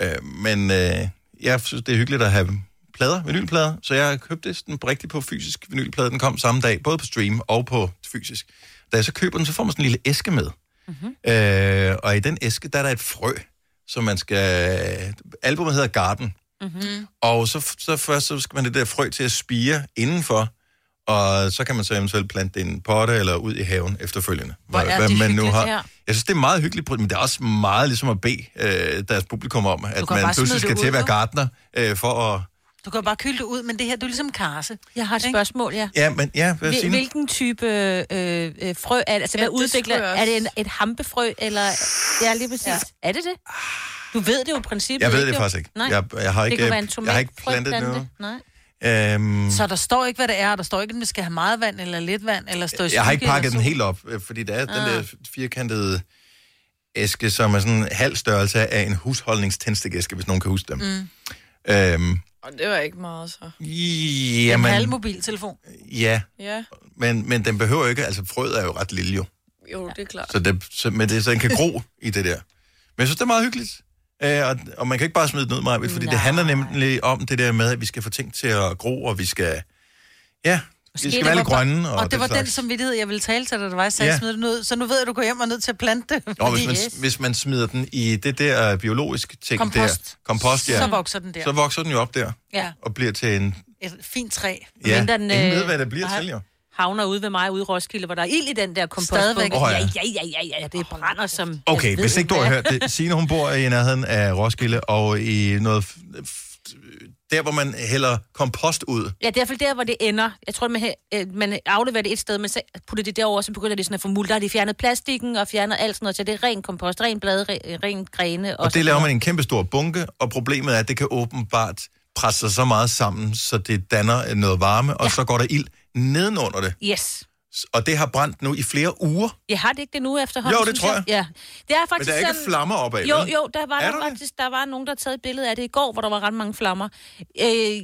[SPEAKER 1] Øh, men øh, jeg synes, det er hyggeligt at have plader, vinylplader. Så jeg købte sådan rigtig på fysisk vinylplade. Den kom samme dag, både på stream og på fysisk. Da jeg så køber den, så får man sådan en lille æske med. Mm-hmm. Øh, og i den æske, der er der et frø, som man skal... Albumet hedder Garden.
[SPEAKER 22] Mm-hmm.
[SPEAKER 1] Og så, så først så skal man det der frø til at spire indenfor, og så kan man så eventuelt plante det i en potte eller ud i haven efterfølgende.
[SPEAKER 22] Hvor er det hyggeligt her.
[SPEAKER 1] Jeg synes, det er meget hyggeligt, men det er også meget ligesom at bede øh, deres publikum om, at
[SPEAKER 6] kan
[SPEAKER 1] man
[SPEAKER 6] bare smide
[SPEAKER 1] pludselig
[SPEAKER 6] det
[SPEAKER 1] skal
[SPEAKER 6] ud,
[SPEAKER 1] til at være
[SPEAKER 6] jo.
[SPEAKER 1] gartner øh, for at...
[SPEAKER 6] Du kan jo bare kylde det ud, men det her, du er ligesom karse.
[SPEAKER 3] Jeg har et spørgsmål, ja.
[SPEAKER 1] Ja, men ja, hvad
[SPEAKER 3] Hvil-
[SPEAKER 1] siger Hvil...
[SPEAKER 3] Hvilken type øh, øh, frø er det? Altså,
[SPEAKER 6] Ja,
[SPEAKER 3] hvad
[SPEAKER 6] det
[SPEAKER 3] udvikler?
[SPEAKER 6] skulle jeg også.
[SPEAKER 3] Er det en, et hampefrø, eller... Ja, lige præcis. Ja. Er det det? Du ved det jo i princippet.
[SPEAKER 1] Jeg ved det
[SPEAKER 3] jo?
[SPEAKER 1] faktisk ikke.
[SPEAKER 3] Nej.
[SPEAKER 1] Jeg- jeg har ikke,
[SPEAKER 3] det kunne
[SPEAKER 1] øh,
[SPEAKER 3] være en
[SPEAKER 1] jeg har ikke plantet
[SPEAKER 3] tomatfrøplante.
[SPEAKER 1] noget.
[SPEAKER 3] Nej.
[SPEAKER 1] Øhm,
[SPEAKER 6] Så der står ikke, hvad det er, og der står ikke, om det skal have meget vand eller lidt vand, eller stå i
[SPEAKER 1] jeg har ikke
[SPEAKER 6] skygge
[SPEAKER 1] pakket
[SPEAKER 6] eller
[SPEAKER 1] den
[SPEAKER 6] sol.
[SPEAKER 1] helt op, øh, fordi der er ah. den
[SPEAKER 6] Ah.
[SPEAKER 1] der firkantede æske, som er sådan en halv størrelse af en husholdningstændstikæske, hvis nogen kan huske dem.
[SPEAKER 4] Mm.
[SPEAKER 1] Mm. Øhm,
[SPEAKER 4] Og det var ikke meget så.
[SPEAKER 1] jamen,
[SPEAKER 6] En halv mobiltelefon.
[SPEAKER 1] ja,
[SPEAKER 4] Ja,
[SPEAKER 1] men, men den behøver jo ikke, altså frøet er jo ret lille jo.
[SPEAKER 4] jo, det er klart.
[SPEAKER 1] Så, det, så, men det, så den kan gro i det der. Men jeg synes, det er meget hyggeligt. Øh, og, og man kan ikke bare smide den ud, Maja, fordi Nej. det handler nemlig om det der med, at vi skal få ting til at gro, og vi skal... Ja, vi skal
[SPEAKER 6] det
[SPEAKER 1] være
[SPEAKER 6] var
[SPEAKER 1] lidt
[SPEAKER 6] bare-
[SPEAKER 1] grønne.
[SPEAKER 6] Og,
[SPEAKER 1] Og,
[SPEAKER 6] og det var den
[SPEAKER 1] slags.
[SPEAKER 6] samvittighed, jeg ville tale til dig, der var, jeg sagde,
[SPEAKER 1] Ja.
[SPEAKER 6] ja. smid den ud. Så nu ved jeg, at du går hjem og er nødt til at plante det.
[SPEAKER 1] Nå,
[SPEAKER 6] fordi- øh,
[SPEAKER 1] hvis man, yes. hvis man smider den i det der biologiske ting der.
[SPEAKER 6] Kompost.
[SPEAKER 1] Kompost. ja.
[SPEAKER 6] Så vokser den der.
[SPEAKER 1] Så vokser den jo op der,
[SPEAKER 3] Ja.
[SPEAKER 1] og bliver til en...
[SPEAKER 6] Et fint træ.
[SPEAKER 1] Ja,
[SPEAKER 3] Mindre
[SPEAKER 1] ingen ved, hvad det bliver
[SPEAKER 3] har-
[SPEAKER 1] til, jo.
[SPEAKER 3] havner ude ved mig ude i Roskilde, hvor der er ild i den der kompostbunke.
[SPEAKER 6] Stadigvæk.
[SPEAKER 1] Åh, ja.
[SPEAKER 3] ja. ja, ja, ja, ja, det brænder som...
[SPEAKER 1] Okay,
[SPEAKER 3] jeg ved
[SPEAKER 1] hvis ikke du har
[SPEAKER 3] hvad.
[SPEAKER 1] hørt det. Signe, hun bor i nærheden af Roskilde, og i noget... f- f- Der, hvor man hælder kompost ud.
[SPEAKER 3] Ja, det er i hvert fald der, hvor det ender. Jeg tror, man, øh, man afleverer det et sted, men så putter det derover, så begynder det sådan at få muld. Der har de fjernet plastikken og fjernet alt sådan noget, så det er ren kompost, ren blade, re- ren grene. Og,
[SPEAKER 1] Og
[SPEAKER 3] sådan
[SPEAKER 1] det laver man
[SPEAKER 3] noget.
[SPEAKER 1] i en kæmpe stor bunke, og problemet er, at det kan åbenbart presse sig så meget sammen, så det danner noget varme, og ja. så går der ild nedenunder det.
[SPEAKER 3] Yes.
[SPEAKER 1] Og det har brændt nu i flere uger.
[SPEAKER 3] Jeg har det ikke det nu efterhånden.
[SPEAKER 1] Jo, det
[SPEAKER 3] synes
[SPEAKER 1] tror jeg.
[SPEAKER 3] Ja. Det er faktisk
[SPEAKER 1] der er ikke
[SPEAKER 3] sådan...
[SPEAKER 1] flammer opad,
[SPEAKER 3] Jo,
[SPEAKER 1] vel?
[SPEAKER 3] jo, der var,
[SPEAKER 1] Er
[SPEAKER 3] der,
[SPEAKER 1] der det?
[SPEAKER 3] faktisk, der var nogen, der taget et billede af det i går, hvor der var ret mange flammer. Øh,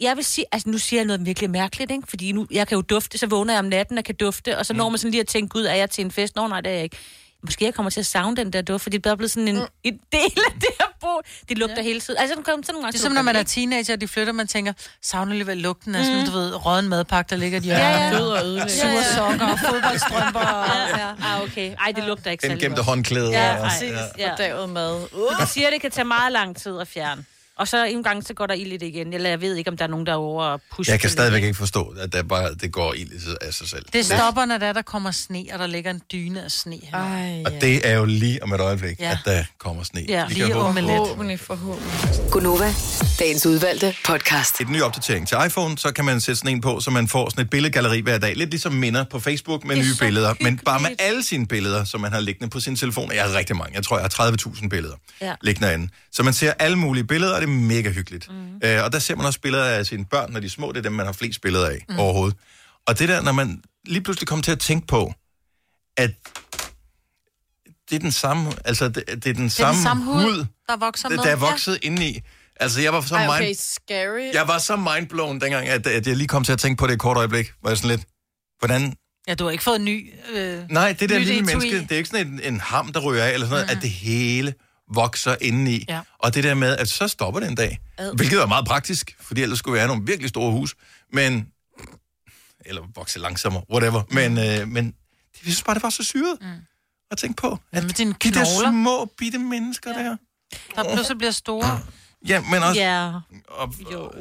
[SPEAKER 3] jeg vil sige, altså nu siger jeg noget virkelig mærkeligt, ikke? fordi nu, jeg kan jo dufte, så vågner jeg om natten og kan dufte,
[SPEAKER 1] Mm.
[SPEAKER 3] og så når man sådan lige at tænke, gud, er jeg til en fest? Nå, nej, det er jeg ikke. Måske jeg kommer til at savne den der duft, fordi det er bare blevet sådan en, mm. en del af det her bo. Det lugter ja. hele tiden. Altså, sådan, kom, sådan nogle gange,
[SPEAKER 6] Det er
[SPEAKER 3] så
[SPEAKER 6] som, når
[SPEAKER 3] lugter
[SPEAKER 6] man er
[SPEAKER 3] det,
[SPEAKER 6] teenager, og de flytter, man tænker, savner alligevel lugten af sådan, du ved, råden madpakke, der ligger i et hjørne.
[SPEAKER 3] Mm. Ja, ja.
[SPEAKER 6] Død og ødelægge. Sure sokker og fodboldstrømper.
[SPEAKER 3] ikke? Ja, ja. Ah, okay. Ej, det lugter ikke særlig
[SPEAKER 1] Gennemgemte
[SPEAKER 3] godt.
[SPEAKER 1] håndklæder.
[SPEAKER 3] Ja,
[SPEAKER 1] og-
[SPEAKER 3] præcis. Ja. Fordavet mad. Uh. siger, det kan tage meget lang tid at fjerne. Og så en gang, så går der ild i det igen. Eller jeg ved ikke, om der er nogen, der er over og pusher.
[SPEAKER 1] Jeg kan
[SPEAKER 3] det.
[SPEAKER 1] stadigvæk ikke forstå, at der bare, det går ild i sig- af sig selv.
[SPEAKER 6] Det stopper, når der, er, der kommer sne, og der ligger en dyne af sne. Ej,
[SPEAKER 1] Ah.
[SPEAKER 6] ja.
[SPEAKER 1] Og det er jo lige om et øjeblik,
[SPEAKER 6] Ja.
[SPEAKER 1] at der kommer sne.
[SPEAKER 6] Ja,
[SPEAKER 1] Vi kan
[SPEAKER 6] lige
[SPEAKER 1] håbe.
[SPEAKER 6] om lidt.
[SPEAKER 21] Gunova, dagens udvalgte podcast.
[SPEAKER 1] Et ny opdatering til iPhone, så kan man sætte sådan en på, så man får sådan et billedgalleri hver dag. Lidt ligesom minder på Facebook med
[SPEAKER 21] Det er
[SPEAKER 1] nye
[SPEAKER 21] så
[SPEAKER 1] billeder. Men bare med alle sine billeder, som man har liggende på sin telefon. Jeg har rigtig mange. Jeg tror, jeg har 30.000 billeder
[SPEAKER 21] Ja.
[SPEAKER 1] liggende derinde. Så man ser alle mulige billeder, og det er mega hyggeligt. Mm. Øh, og der ser man også billeder af sine børn, når de er små. Det er dem, man har flest billeder af mm. overhovedet. Og det der, når man lige pludselig kommer til at tænke på, at det er den samme, altså det, det er
[SPEAKER 6] Det
[SPEAKER 1] den
[SPEAKER 6] er
[SPEAKER 1] samme,
[SPEAKER 6] den samme hud,
[SPEAKER 1] hud,
[SPEAKER 6] der vokser med.
[SPEAKER 1] det, der er vokset ja. indeni. Altså, jeg var så
[SPEAKER 4] Ej,
[SPEAKER 1] mind-
[SPEAKER 4] okay, scary.
[SPEAKER 1] jeg var så mindblown dengang, at, at jeg lige kom til at tænke på det et kort øjeblik. Var jeg sådan lidt, hvordan...
[SPEAKER 6] Ja, du har ikke fået en ny... Øh,
[SPEAKER 1] Nej, det der
[SPEAKER 6] nyt
[SPEAKER 1] lille
[SPEAKER 6] etui.
[SPEAKER 1] menneske, det er ikke sådan en, en ham, der ryger af, eller sådan noget, mm. at det hele vokser indeni.
[SPEAKER 6] Ja.
[SPEAKER 1] Og det der med, at så stopper det en dag.
[SPEAKER 6] Ad.
[SPEAKER 1] Hvilket var meget praktisk, fordi ellers skulle vi have nogle virkelig store hus. Men... Eller vokse langsommere, whatever.
[SPEAKER 6] Mm.
[SPEAKER 1] Men, øh, men det, jeg synes bare, det var så syret mm. at tænke på. At
[SPEAKER 6] med dine
[SPEAKER 1] de der
[SPEAKER 6] knogler.
[SPEAKER 1] små, bitte mennesker ja. der.
[SPEAKER 6] Der pludselig bliver store.
[SPEAKER 1] Ja, men også...
[SPEAKER 6] Ja.
[SPEAKER 1] Og, og,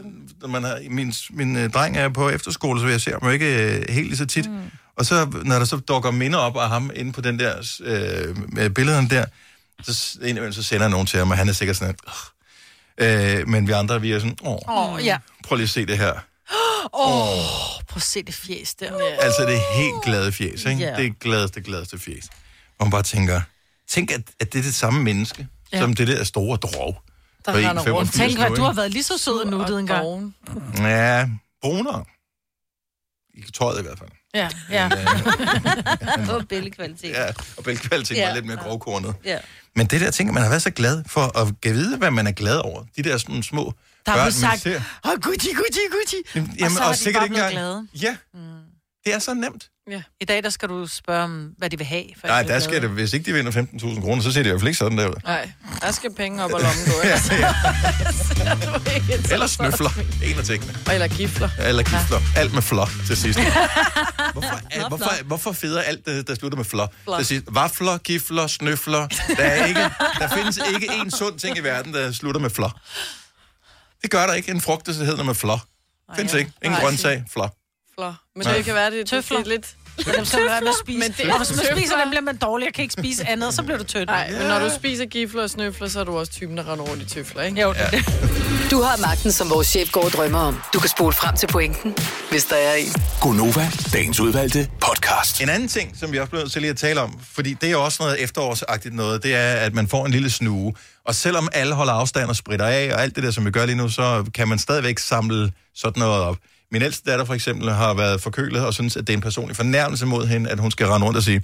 [SPEAKER 1] når man har, min, min øh, dreng er på efterskole, så jeg ser ham jo ikke øh, helt lige så tit. Mm. Og så, når der så dukker minder op af ham inde på den der, øh, med billederne der, så, s- indimellem, så sender jeg nogen til ham, og han er sikkert sådan, "Åh." øh, men vi andre, vi er sådan, åh,
[SPEAKER 6] Åh, oh, ja.
[SPEAKER 1] prøv lige at se det her.
[SPEAKER 6] Åh, oh, prøv at se det fjes der. Ja.
[SPEAKER 1] Altså, det er helt glade fjes, ikke?
[SPEAKER 6] Ja.
[SPEAKER 1] Yeah. Det er gladeste, gladeste fjes. Hvor man bare tænker, tænk, at, at det er det samme menneske,
[SPEAKER 6] Ja.
[SPEAKER 1] ja. som det der store drog.
[SPEAKER 6] Der
[SPEAKER 1] på
[SPEAKER 6] render
[SPEAKER 1] 1,85
[SPEAKER 6] rundt. Tænk,
[SPEAKER 1] nu,
[SPEAKER 6] hvad du
[SPEAKER 1] ikke?
[SPEAKER 6] har været lige så sød og nuttet engang.
[SPEAKER 1] Ja, brunere. I tøjet i hvert fald.
[SPEAKER 6] Ja, ja.
[SPEAKER 3] På billedkvalitet.
[SPEAKER 1] Ja, og bælgkvaliteten ja.
[SPEAKER 3] Ja.
[SPEAKER 1] var lidt mere grovkornet.
[SPEAKER 3] Ja.
[SPEAKER 1] Men det der ting, man har været så glad for at give vide, hvad man er glad over. De der sådan små
[SPEAKER 6] Der er blevet
[SPEAKER 1] børn, man
[SPEAKER 6] sagt,
[SPEAKER 1] ser.
[SPEAKER 6] åh, oh, Gucci, Gucci, Gucci.
[SPEAKER 1] Jamen,
[SPEAKER 6] og så
[SPEAKER 1] jamen,
[SPEAKER 6] er
[SPEAKER 1] og
[SPEAKER 6] de
[SPEAKER 1] sikkert
[SPEAKER 6] bare
[SPEAKER 1] ikke
[SPEAKER 6] blevet
[SPEAKER 1] engang-
[SPEAKER 6] glade. Mm.
[SPEAKER 1] Ja. Det er så nemt.
[SPEAKER 6] Ja. I dag, der skal du spørge om, hvad de vil have. For
[SPEAKER 1] Nej, der skal det, hvis ikke de vinder 15.000 kroner, så ser det i hvert fald ikke sådan der ud.
[SPEAKER 4] Nej, der skal penge op og lommen gå.
[SPEAKER 1] Ja,
[SPEAKER 4] Altså.
[SPEAKER 1] ja.
[SPEAKER 4] Så er du ikke interesseret.
[SPEAKER 1] Eller snøfler. En af tingene.
[SPEAKER 4] Eller gifler.
[SPEAKER 1] Eller kifler. Alt med flot til sidst. Hvorfor, hvorfor, hvorfor federe alt, det, der slutter med flot?
[SPEAKER 4] Flor.
[SPEAKER 1] Til sidst. Vafler, gifler, snøfler. Der, er ikke, der findes ikke én sund ting i verden, der slutter med flot. Det gør der ikke. En frugt, der hedder med flot. Findes ikke. Ingen
[SPEAKER 4] Nej.
[SPEAKER 1] grøntsag, flot.
[SPEAKER 4] Flor. Men
[SPEAKER 1] Nej.
[SPEAKER 4] det kan være, det, det, det er lidt...
[SPEAKER 6] Dem skal man være med at spise.
[SPEAKER 4] Men det
[SPEAKER 6] og hvis man spiser dem, bliver man dårlig. Jeg kan ikke spise andet, og så bliver du tynd.
[SPEAKER 4] Nej, men når du spiser gifler og snøfler, så er du også typen, der render rundt i tøfler, ikke?
[SPEAKER 6] Jo, det er det.
[SPEAKER 21] Du har magten, som vores chef går og drømmer om. Du kan spole frem til pointen, hvis der er en.
[SPEAKER 1] Gonova, dagens udvalgte podcast. En anden ting, som vi også bliver nødt til lige at tale om, fordi det er jo også noget efterårsagtigt noget, det er, at man får en lille snue. Og selvom alle holder afstand og spritter af, og alt det der, som vi gør lige nu, så kan man stadigvæk samle sådan noget op. Min ældste datter for eksempel har været forkølet og synes, at det er en personlig fornærmelse mod hende, at hun skal rende rundt og sige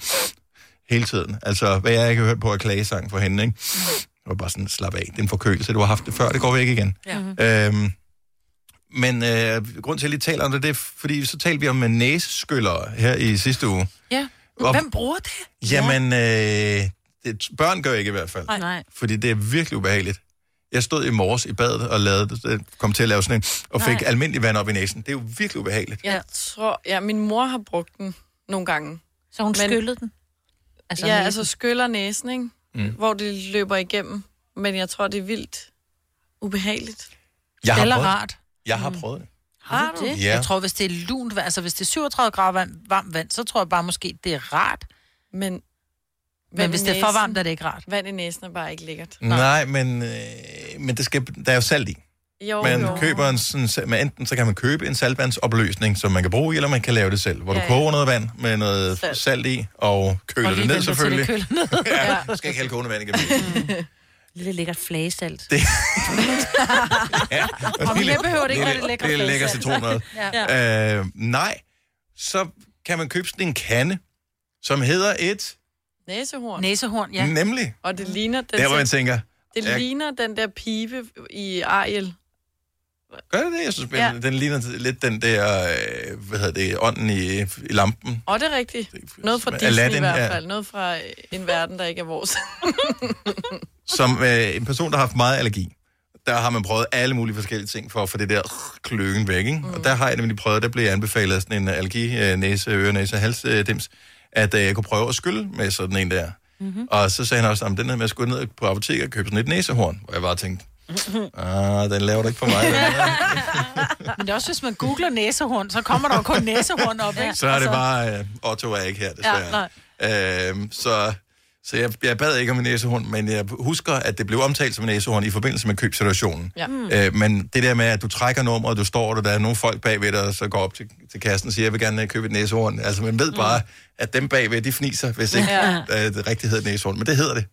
[SPEAKER 1] hele tiden. Altså, hvad jeg ikke har hørt på er klagesang for hende, ikke? Det var bare sådan, slap af. Det er en forkølelse, du har haft det før, det går væk igen. Ja. Øhm, men øh, grund til, at jeg lige taler om det, det er, fordi så talte vi om øh, næseskyllere her i sidste uge.
[SPEAKER 6] Ja.
[SPEAKER 1] Op-
[SPEAKER 6] Hvem bruger det?
[SPEAKER 1] Jamen, øh, det, børn gør ikke i hvert fald.
[SPEAKER 6] Nej. Nej.
[SPEAKER 1] Fordi det er virkelig ubehageligt. Jeg stod i morges i badet og lavede, øh, kom til at lave sådan en, og fik
[SPEAKER 4] Nej.
[SPEAKER 1] almindelig vand op i næsen. Det er jo virkelig ubehageligt.
[SPEAKER 4] Jeg tror, ja, min mor har brugt den nogle gange.
[SPEAKER 3] Så hun skyllede den?
[SPEAKER 4] Altså
[SPEAKER 3] Altså
[SPEAKER 4] ja,
[SPEAKER 3] næsen?
[SPEAKER 4] altså skyller næsen, ikke? Mm.
[SPEAKER 1] Mm.
[SPEAKER 4] Hvor det løber igennem. Men jeg tror, det er vildt ubehageligt.
[SPEAKER 1] Jeg har
[SPEAKER 6] Eller
[SPEAKER 1] prøvet,
[SPEAKER 6] rart.
[SPEAKER 1] Jeg har prøvet det.
[SPEAKER 6] Har du det?
[SPEAKER 1] Ja.
[SPEAKER 6] Jeg tror, hvis det er lunt vand, altså hvis det er 37 grader varmt, varmt vand, så tror jeg bare måske, det er rart.
[SPEAKER 4] Men, men,
[SPEAKER 6] men hvis det er for varmt, er det ikke rart.
[SPEAKER 4] Vand i næsen er bare ikke lækkert.
[SPEAKER 1] Nej, men, øh, men det skal, der er jo salt i.
[SPEAKER 4] Jo,
[SPEAKER 1] man
[SPEAKER 4] jo.
[SPEAKER 1] køber en sådan, sa- men enten så kan man købe en saltvandsopløsning, som man kan bruge i, eller man kan lave det selv, hvor ja,
[SPEAKER 4] Ja,
[SPEAKER 1] du
[SPEAKER 4] ja.
[SPEAKER 1] koger noget vand med noget salt, salt i, og køler
[SPEAKER 3] Og
[SPEAKER 1] og
[SPEAKER 3] lige
[SPEAKER 1] det ned
[SPEAKER 3] venter til det
[SPEAKER 1] selvfølgelig.
[SPEAKER 3] køler ned.
[SPEAKER 1] ja, du skal ikke hælde kogende vand igennem.
[SPEAKER 3] Lidt lækkert flagesalt.
[SPEAKER 1] Det... ja,
[SPEAKER 3] Og mere behøver det ikke være det
[SPEAKER 1] det
[SPEAKER 3] lækre
[SPEAKER 1] Det er lækker
[SPEAKER 3] flæsalt.
[SPEAKER 1] citronmad. ja. øh, nej, så kan man købe sådan en kande, som hedder et...
[SPEAKER 4] Næsehorn.
[SPEAKER 6] Næsehorn,
[SPEAKER 1] ja. Nemlig.
[SPEAKER 4] Og det ligner den,
[SPEAKER 1] Der, hvor
[SPEAKER 4] der-
[SPEAKER 1] man tænker,
[SPEAKER 4] det
[SPEAKER 1] jeg-
[SPEAKER 4] ligner den der pibe i Ariel.
[SPEAKER 1] Gør det det? Jeg synes,
[SPEAKER 4] Ja.
[SPEAKER 1] ja. den ligner lidt den der, øh, hvad hedder det, ånden i, i lampen.
[SPEAKER 4] Og det er rigtigt. Noget fra Disney
[SPEAKER 1] Aladdin,
[SPEAKER 4] Aladdin, i hvert
[SPEAKER 1] ja.
[SPEAKER 4] fald. Noget fra en verden, der ikke er vores.
[SPEAKER 1] som øh, en person, der har haft meget allergi, der har man prøvet alle mulige forskellige ting for at få det der kløen væk. Ikke? Mm. Og der har jeg nemlig prøvet, der blev jeg anbefalet af sådan en allergi, øh, næse, øre, næse, hals, øh, dims, at øh, jeg kunne prøve at skylle med sådan en der.
[SPEAKER 6] Mhm.
[SPEAKER 1] Mm-hmm. Og så sagde han også, at den her med at skulle ned på apoteket og købe sådan et næsehorn. Og jeg bare tænkte, ah, den laver du ikke for mig. den her."
[SPEAKER 6] Men det er også, hvis man googler næsehorn, så kommer der jo kun næsehorn op, ikke? Altså,
[SPEAKER 1] så er det bare, øh, Otto er ikke her, desværre.
[SPEAKER 6] Ja, nej.
[SPEAKER 1] Øhm, så så jeg, jeg bad ikke om en næsehorn, men jeg husker, at det blev omtalt som en næsehorn i forbindelse med købsituationen.
[SPEAKER 5] Ja. Mm.
[SPEAKER 1] Øh, men det der med, at du trækker nummeret, du står der, der er nogle folk bagved dig, og så går op til, til kassen og siger, jeg vil gerne øh, købe et næsehorn. Altså, man ved bare, at dem bagved, de fniser, hvis ikke
[SPEAKER 5] Ja.
[SPEAKER 1] ja. øh, det rigtigt hedder et næsehorn. Men det hedder det.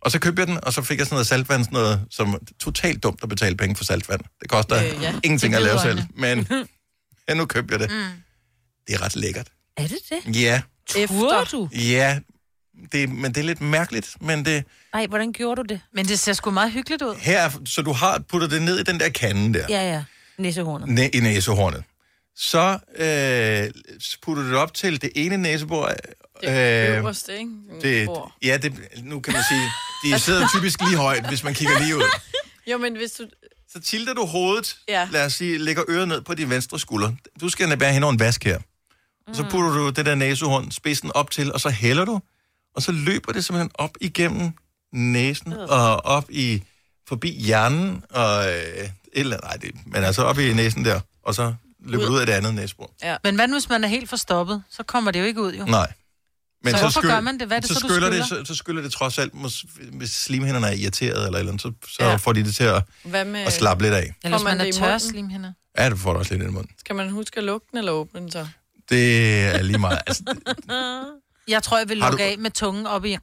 [SPEAKER 1] Og så købte jeg den, og så fik jeg sådan noget saltvand, sådan noget, som totalt dumt at betale penge for saltvand. Det koster øh,
[SPEAKER 5] Øh, ja.
[SPEAKER 1] ja. ingenting
[SPEAKER 5] Det
[SPEAKER 1] at lave
[SPEAKER 5] lyder
[SPEAKER 1] selv, men ja, nu købte jeg det. Mm. Det er ret lækkert.
[SPEAKER 3] Er det det?
[SPEAKER 1] Ja,
[SPEAKER 3] Efter. du?
[SPEAKER 1] ja. Det, men det er lidt mærkeligt, men det...
[SPEAKER 3] Nej, hvordan gjorde du det?
[SPEAKER 6] Men det ser sgu meget hyggeligt ud.
[SPEAKER 1] Her, er- så du har puttet det ned i den der kande der,
[SPEAKER 3] Ja, ja. Næsehornet.
[SPEAKER 1] næ- i næsehornet. Så øh, putter du det op til det ene næsebord. Øh,
[SPEAKER 4] Det øverste, ikke?
[SPEAKER 1] det,
[SPEAKER 4] Bord.
[SPEAKER 1] ja, det, nu kan man sige, de sidder typisk lige højt, hvis man kigger lige ud.
[SPEAKER 4] Jo, men hvis du...
[SPEAKER 1] Så tilter du hovedet,
[SPEAKER 4] Ja.
[SPEAKER 1] lad os sige, lægger øret ned på din venstre skulder. Du skal bære hen over en vask her. Og så
[SPEAKER 6] Mm.
[SPEAKER 1] putter du det der næsehorn, spidsen op til, og så hælder du, og så løber det simpelthen op igennem næsen
[SPEAKER 6] Øh.
[SPEAKER 1] og op i forbi hjernen og øh, et eller andet, nej, det, men altså op i næsen der, og så løber det ud af det andet næsebord.
[SPEAKER 6] Ja. Men hvad nu, hvis man er helt forstoppet? Så kommer det jo ikke ud, jo.
[SPEAKER 1] Nej.
[SPEAKER 6] Så hvorfor gør man det? Hvad er det
[SPEAKER 1] så,
[SPEAKER 6] så, du
[SPEAKER 1] skyller det,
[SPEAKER 6] skyller?
[SPEAKER 1] så, så skyller det trods alt, mås, hvis slimhænderne er irriteret eller et eller andet, så, så ja. får de det til at,
[SPEAKER 4] Hvad med...
[SPEAKER 1] at slappe lidt af.
[SPEAKER 6] Eller hvis
[SPEAKER 4] Får man
[SPEAKER 6] man er
[SPEAKER 4] det i
[SPEAKER 6] tør
[SPEAKER 4] munden?
[SPEAKER 6] slimhinder.
[SPEAKER 1] Ja, det får du også lidt i munden.
[SPEAKER 4] Skal man huske at lukke den eller åbne den så?
[SPEAKER 1] Det er lige meget. Altså,
[SPEAKER 6] Jeg tror, jeg vil
[SPEAKER 1] Har
[SPEAKER 6] lukke
[SPEAKER 1] du-
[SPEAKER 6] af med tungen op i,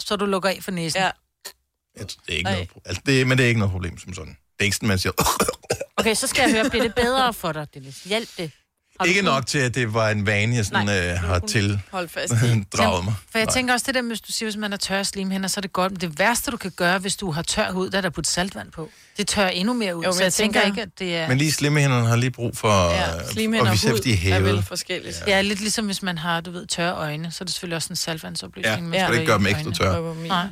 [SPEAKER 6] så du lukker af for næsen. Ja.
[SPEAKER 1] Det er ikke noget, pro- altså, det, men det er ikke noget problem som sådan. Det er ikke sådan, man siger...
[SPEAKER 3] Okay, så skal jeg høre, bliver det bedre for dig, Dennis? Hjælp det.
[SPEAKER 1] ikke nok til, at det var en vane, jeg sådan, øh, har til
[SPEAKER 4] Hold fast.
[SPEAKER 1] draget mig.
[SPEAKER 6] For jeg tænker også, det der, med, hvis du siger, hvis man er tør slimhænder, så er det godt. Men det værste, du kan gøre, hvis du har tør hud, der er der puttet saltvand på. Det tør endnu mere ud.
[SPEAKER 4] Jo, men
[SPEAKER 6] så jeg
[SPEAKER 4] jeg
[SPEAKER 6] tænker
[SPEAKER 4] tænker-
[SPEAKER 6] ikke, at det er...
[SPEAKER 1] Men lige slemmehænderne har lige brug for...
[SPEAKER 6] Ja,
[SPEAKER 1] øh, og vi ser, de er hævet.
[SPEAKER 4] forskelligt.
[SPEAKER 6] Ja. ja, lidt ligesom hvis man har, du ved, tørre øjne, så er det selvfølgelig også en saltvandsoplysning.
[SPEAKER 1] Ja,
[SPEAKER 6] man
[SPEAKER 1] så det
[SPEAKER 6] putter
[SPEAKER 1] ikke gør
[SPEAKER 6] i
[SPEAKER 1] dem ekstra
[SPEAKER 6] øjnene.
[SPEAKER 1] tørre.
[SPEAKER 6] Nej.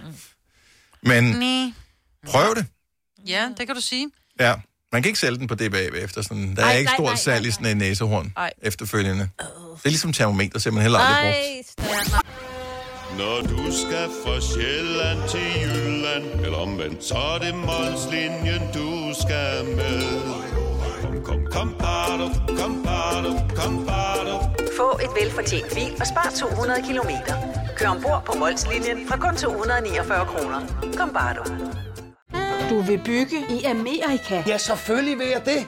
[SPEAKER 1] Men
[SPEAKER 6] Næ.
[SPEAKER 1] prøv det.
[SPEAKER 6] Ja, det kan du sige.
[SPEAKER 1] Ja. Man kan ikke sælge den på DBA efter sådan. Der er
[SPEAKER 6] Ej,
[SPEAKER 1] ikke
[SPEAKER 6] nej, nej,
[SPEAKER 1] stort salg i sådan en næsehorn
[SPEAKER 6] Ej.
[SPEAKER 1] efterfølgende. Det er ligesom termometer, ser man heller aldrig brugt.
[SPEAKER 10] Når du skal fra Sjælland til Jylland Eller omvendt, så er det Molslinjen, du skal med Kom, kom, kom, bado, kom, bado, kom, bado.
[SPEAKER 13] Få et velfortjent bil og spar 200 kilometer. Kør ombord på Molslinjen fra kun 249 kroner. Kom bare du.
[SPEAKER 5] Du vil bygge i Amerika? Ja, selvfølgelig vil jeg det.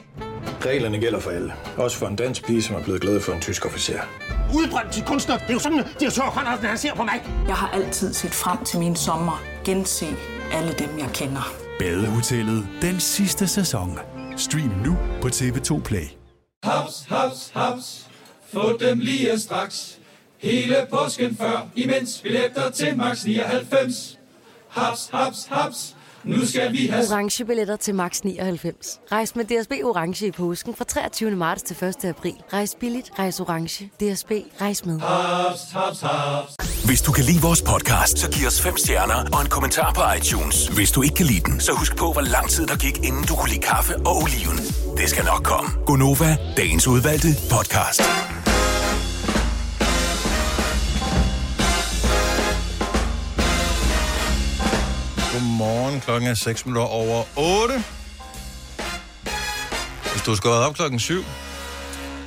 [SPEAKER 15] Reglerne gælder for alle. Også for en dansk pige, som er blevet glad for en tysk officer.
[SPEAKER 14] Udbrændt til kunstner. Det er jo sådan, at de har tørt, Andersen, han ser på mig. Jeg har altid set frem til min sommer. Gense alle dem, jeg kender.
[SPEAKER 16] Badehotellet den sidste sæson. Stream nu på TV2 Play.
[SPEAKER 17] Haps, haps, haps. Få dem lige straks. Hele påsken før, imens billetter til max 99. Haps, haps, haps. Nu skal vi have
[SPEAKER 8] orange billetter til max 99. Rejs med DSB orange i påsken fra 23. marts til 1. april. Rejs billigt, rejs orange. DSB rejs med.
[SPEAKER 17] Haps, haps, haps.
[SPEAKER 23] Hvis du kan lide vores podcast, så giv os fem stjerner og en kommentar på iTunes. Hvis du ikke kan lide den, så husk på, hvor lang tid der gik, inden du kunne lide kaffe og oliven. Det skal nok komme.
[SPEAKER 16] Gonova,
[SPEAKER 23] Dagens udvalgte podcast.
[SPEAKER 1] Godmorgen. Klokken er 6 minutter over 8. Hvis du er skåret op klokken 7,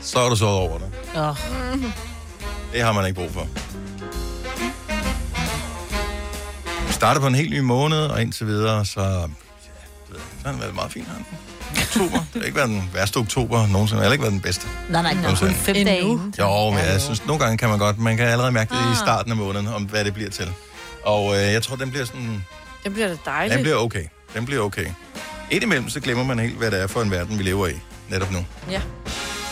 [SPEAKER 1] så er du så over det.
[SPEAKER 6] Oh.
[SPEAKER 1] Det har man ikke brug for. Vi starter på en helt ny måned, og indtil videre, så... Ja, det ved jeg ikke. så har den været meget fin, har den. Oktober. Det har ikke været den værste oktober nogensinde. Det har ikke været den bedste.
[SPEAKER 3] Nej, nej,
[SPEAKER 1] Nå,
[SPEAKER 3] det er kun
[SPEAKER 1] så-
[SPEAKER 3] fem dage inden.
[SPEAKER 1] Jo, men jeg synes, nogle gange kan man godt. Man kan allerede mærke det i starten af måneden, om hvad det bliver til. Og øh, jeg tror, den bliver sådan...
[SPEAKER 4] Det bliver da dejligt.
[SPEAKER 1] Den bliver okay. Den bliver okay. Indimellem, så glemmer man helt, hvad det er for en verden, vi lever i netop nu.
[SPEAKER 4] Ja.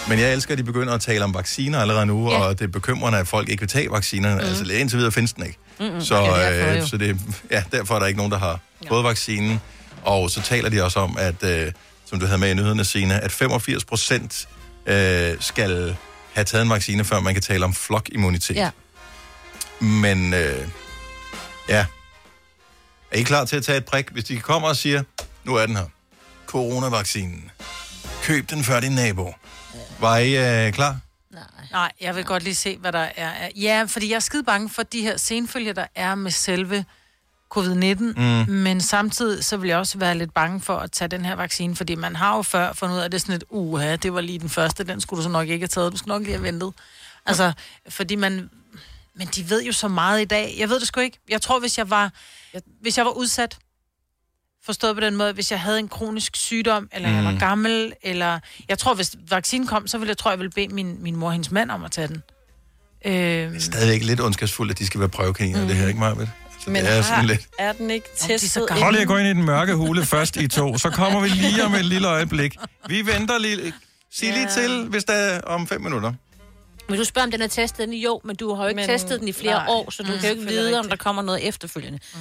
[SPEAKER 1] Men jeg elsker, at de begynder at tale om vacciner allerede nu, ja. og det er bekymrende, at folk ikke vil tage vaccinerne. Mm. Altså indtil videre findes den ikke.
[SPEAKER 24] Mm-mm.
[SPEAKER 1] Så,
[SPEAKER 24] Ja, det er derfor
[SPEAKER 1] øh,
[SPEAKER 24] jo.
[SPEAKER 1] så det, ja, derfor er der ikke nogen, der har fået vaccinen. Og så taler de også om, at øh, som du havde med i nyhederne, Sina, at 85 procent øh, skal have taget en vaccine, før man kan tale om flokimmunitet.
[SPEAKER 3] Ja.
[SPEAKER 1] Men øh, ja, er I klar til at tage et prik, hvis de kommer og siger, nu er den her, coronavaccinen. Køb den før din nabo. Var I øh, klar?
[SPEAKER 6] Nej, jeg vil godt lige se, hvad der er. af- Ja, fordi jeg er skide bange for de her senfølger, der er med selve covid-19,
[SPEAKER 1] Mm.
[SPEAKER 6] mm. men samtidig så vil jeg også være lidt bange for at tage den her vaccine, fordi man har jo før fundet ud af, at det er sådan et, uha, det var lige den første, den skulle du så nok ikke have taget, du skulle nok lige have ventet. Altså, fordi man... Men de ved jo så meget i dag. Jeg ved det sgu ikke. Jeg tror, hvis jeg var, hvis jeg var udsat, forstået på den måde, hvis jeg havde en kronisk sygdom, eller mm. jeg var
[SPEAKER 1] Mm.
[SPEAKER 6] gammel, eller... Jeg tror, hvis vaccinen kom, så ville jeg, tror, jeg ville bede min, min mor og hendes mand om at tage den. Øh,
[SPEAKER 1] Stadigvæk lidt ondskabsfuldt, at de skal være prøvekaniner, mm. det her, ikke meget med.
[SPEAKER 4] Men
[SPEAKER 1] det er sådan
[SPEAKER 4] har,
[SPEAKER 1] lidt.
[SPEAKER 4] er den ikke testet?
[SPEAKER 1] gamle.
[SPEAKER 4] inden?
[SPEAKER 1] Prøv lige at gå ind i den mørke hule først i to, så kommer vi lige om et lille øjeblik. Vi venter lige. Sig lige til, hvis der er om fem minutter.
[SPEAKER 3] Vil du spørge, om den er testet den? Jo, men du har jo ikke
[SPEAKER 4] Men
[SPEAKER 3] men, testet den i flere
[SPEAKER 4] nej.
[SPEAKER 3] nej. år, så du
[SPEAKER 4] Mm,
[SPEAKER 3] mm, kan jo ikke
[SPEAKER 4] selvfølgelig
[SPEAKER 3] vide, om der kommer noget efterfølgende. Mm.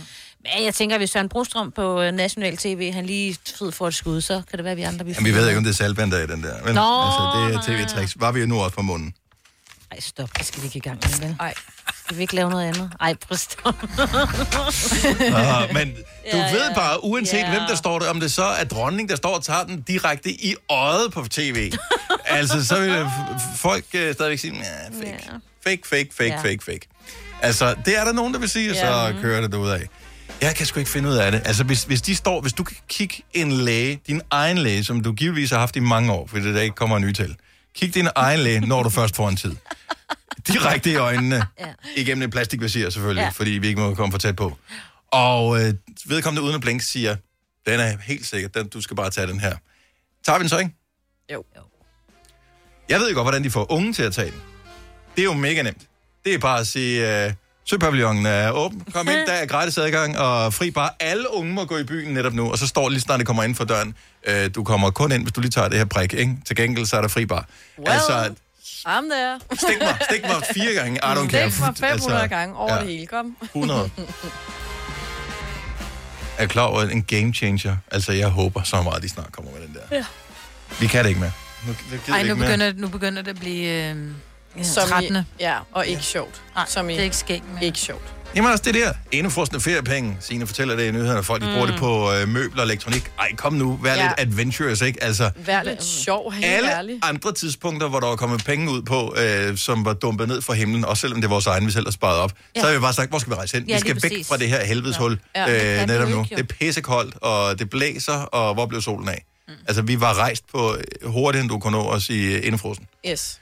[SPEAKER 3] Men jeg tænker, hvis Søren Brostrøm på øh, National TV, han lige fed får et skud, så kan det være, at vi andre... Vi,
[SPEAKER 1] Jamen, vi ved ikke, om det er salvand, der er i den der. Men,
[SPEAKER 3] Nå,
[SPEAKER 1] altså, det er tv-tricks. Var vi jo nu også på munden?
[SPEAKER 3] Ej, stop. Det skal vi ikke i gang med, vel? Ej. Skal vi ikke lave noget andet? Ej, prøv at stop.
[SPEAKER 1] Ah, men du
[SPEAKER 3] Ja,
[SPEAKER 1] ved
[SPEAKER 3] ja.
[SPEAKER 1] bare, uanset
[SPEAKER 3] Ja.
[SPEAKER 1] hvem der står der, om det så er dronning, der står og tager den direkte i øjet på tv. altså, så vil øh, f- folk øh, stadigvæk sige, "Næh, fake, fake, fake, fake,
[SPEAKER 22] Ja.
[SPEAKER 1] fake, fake. Altså, det er der nogen, der vil sige, og så
[SPEAKER 22] Ja.
[SPEAKER 1] kører det ud af. Jeg kan sgu ikke finde ud af det. Altså, hvis, hvis de står, hvis du kan kigge en læge, din egen læge, som du givetvis har haft i mange år, fordi der ikke kommer en ny til. Kig din egen læge, når du først får en tid. Direkte i øjnene. Ja. Igennem en plastikvisir selvfølgelig,
[SPEAKER 22] Ja.
[SPEAKER 1] ja. fordi vi ikke må komme for tæt på. Og øh, vedkommende uden at blinke siger, den er helt sikker, den, du skal bare tage den her. Tager vi den så, ikke?
[SPEAKER 4] Jo.
[SPEAKER 1] Jeg ved jo godt, hvordan de får unge til at tage den. Det er jo mega nemt. Det er bare at sige, øh, Søpavillonen er åben, kom ind, der er gratis adgang og fri bar. Alle unge må gå i byen netop nu, og så står det lige snart, det kommer ind for døren. Øh, du kommer kun ind, hvis du lige tager det her prik, ikke? Til gengæld, så er der fri bar. Well. Altså,
[SPEAKER 4] Ham der.
[SPEAKER 1] Stik mig, stik mig fire gange, I don't care.
[SPEAKER 4] Stik mig 500
[SPEAKER 1] Altså,
[SPEAKER 4] gange over
[SPEAKER 1] ja.
[SPEAKER 4] det hele, kom.
[SPEAKER 1] 100. er klar over en game changer. Altså, jeg håber så meget, de snart kommer med den der.
[SPEAKER 6] Ja.
[SPEAKER 1] Vi kan det ikke mere. Nu, nu gider
[SPEAKER 6] Ej,
[SPEAKER 1] vi
[SPEAKER 6] nu
[SPEAKER 1] ikke mere.
[SPEAKER 6] begynder, nu begynder det at blive øh, ja.
[SPEAKER 4] Som i-
[SPEAKER 6] 13.
[SPEAKER 4] ja, og ikke sjovt.
[SPEAKER 6] Nej,
[SPEAKER 4] Som i-
[SPEAKER 6] det er ikke skægt mere.
[SPEAKER 4] Ikke sjovt.
[SPEAKER 1] Jamen også det der, indefrostende feriepenge. Signe fortæller det i nyhederne, folk de bruger
[SPEAKER 4] Mm.
[SPEAKER 1] det på øh, møbler og elektronik. Ej, kom nu, vær
[SPEAKER 4] Ja.
[SPEAKER 1] ja. lidt adventurous, ikke? Altså,
[SPEAKER 4] Vær lidt sjov, helt
[SPEAKER 1] alle
[SPEAKER 4] ærligt.
[SPEAKER 1] andre tidspunkter, hvor der var kommet penge ud på, øh, som var dumpet ned fra himlen, også selvom det var vores egen, vi selv har sparet op,
[SPEAKER 4] Ja.
[SPEAKER 1] ja. så har vi bare sagt, hvor skal vi rejse hen?
[SPEAKER 4] Ja,
[SPEAKER 1] Ja, vi skal
[SPEAKER 4] lige
[SPEAKER 1] væk
[SPEAKER 4] præcis.
[SPEAKER 1] fra det her helvedeshul
[SPEAKER 4] Ja.
[SPEAKER 1] ja.
[SPEAKER 4] Ja, det
[SPEAKER 1] Ja,
[SPEAKER 4] kan
[SPEAKER 1] øh,
[SPEAKER 4] vi
[SPEAKER 1] netop
[SPEAKER 4] ikke,
[SPEAKER 1] nu.
[SPEAKER 4] jo.
[SPEAKER 1] Det er pissekoldt, og det blæser, og hvor blev solen af? Mm. Altså, vi var rejst på øh, hurtigere, end du kunne nå os i øh, indefrosen.
[SPEAKER 4] Yes.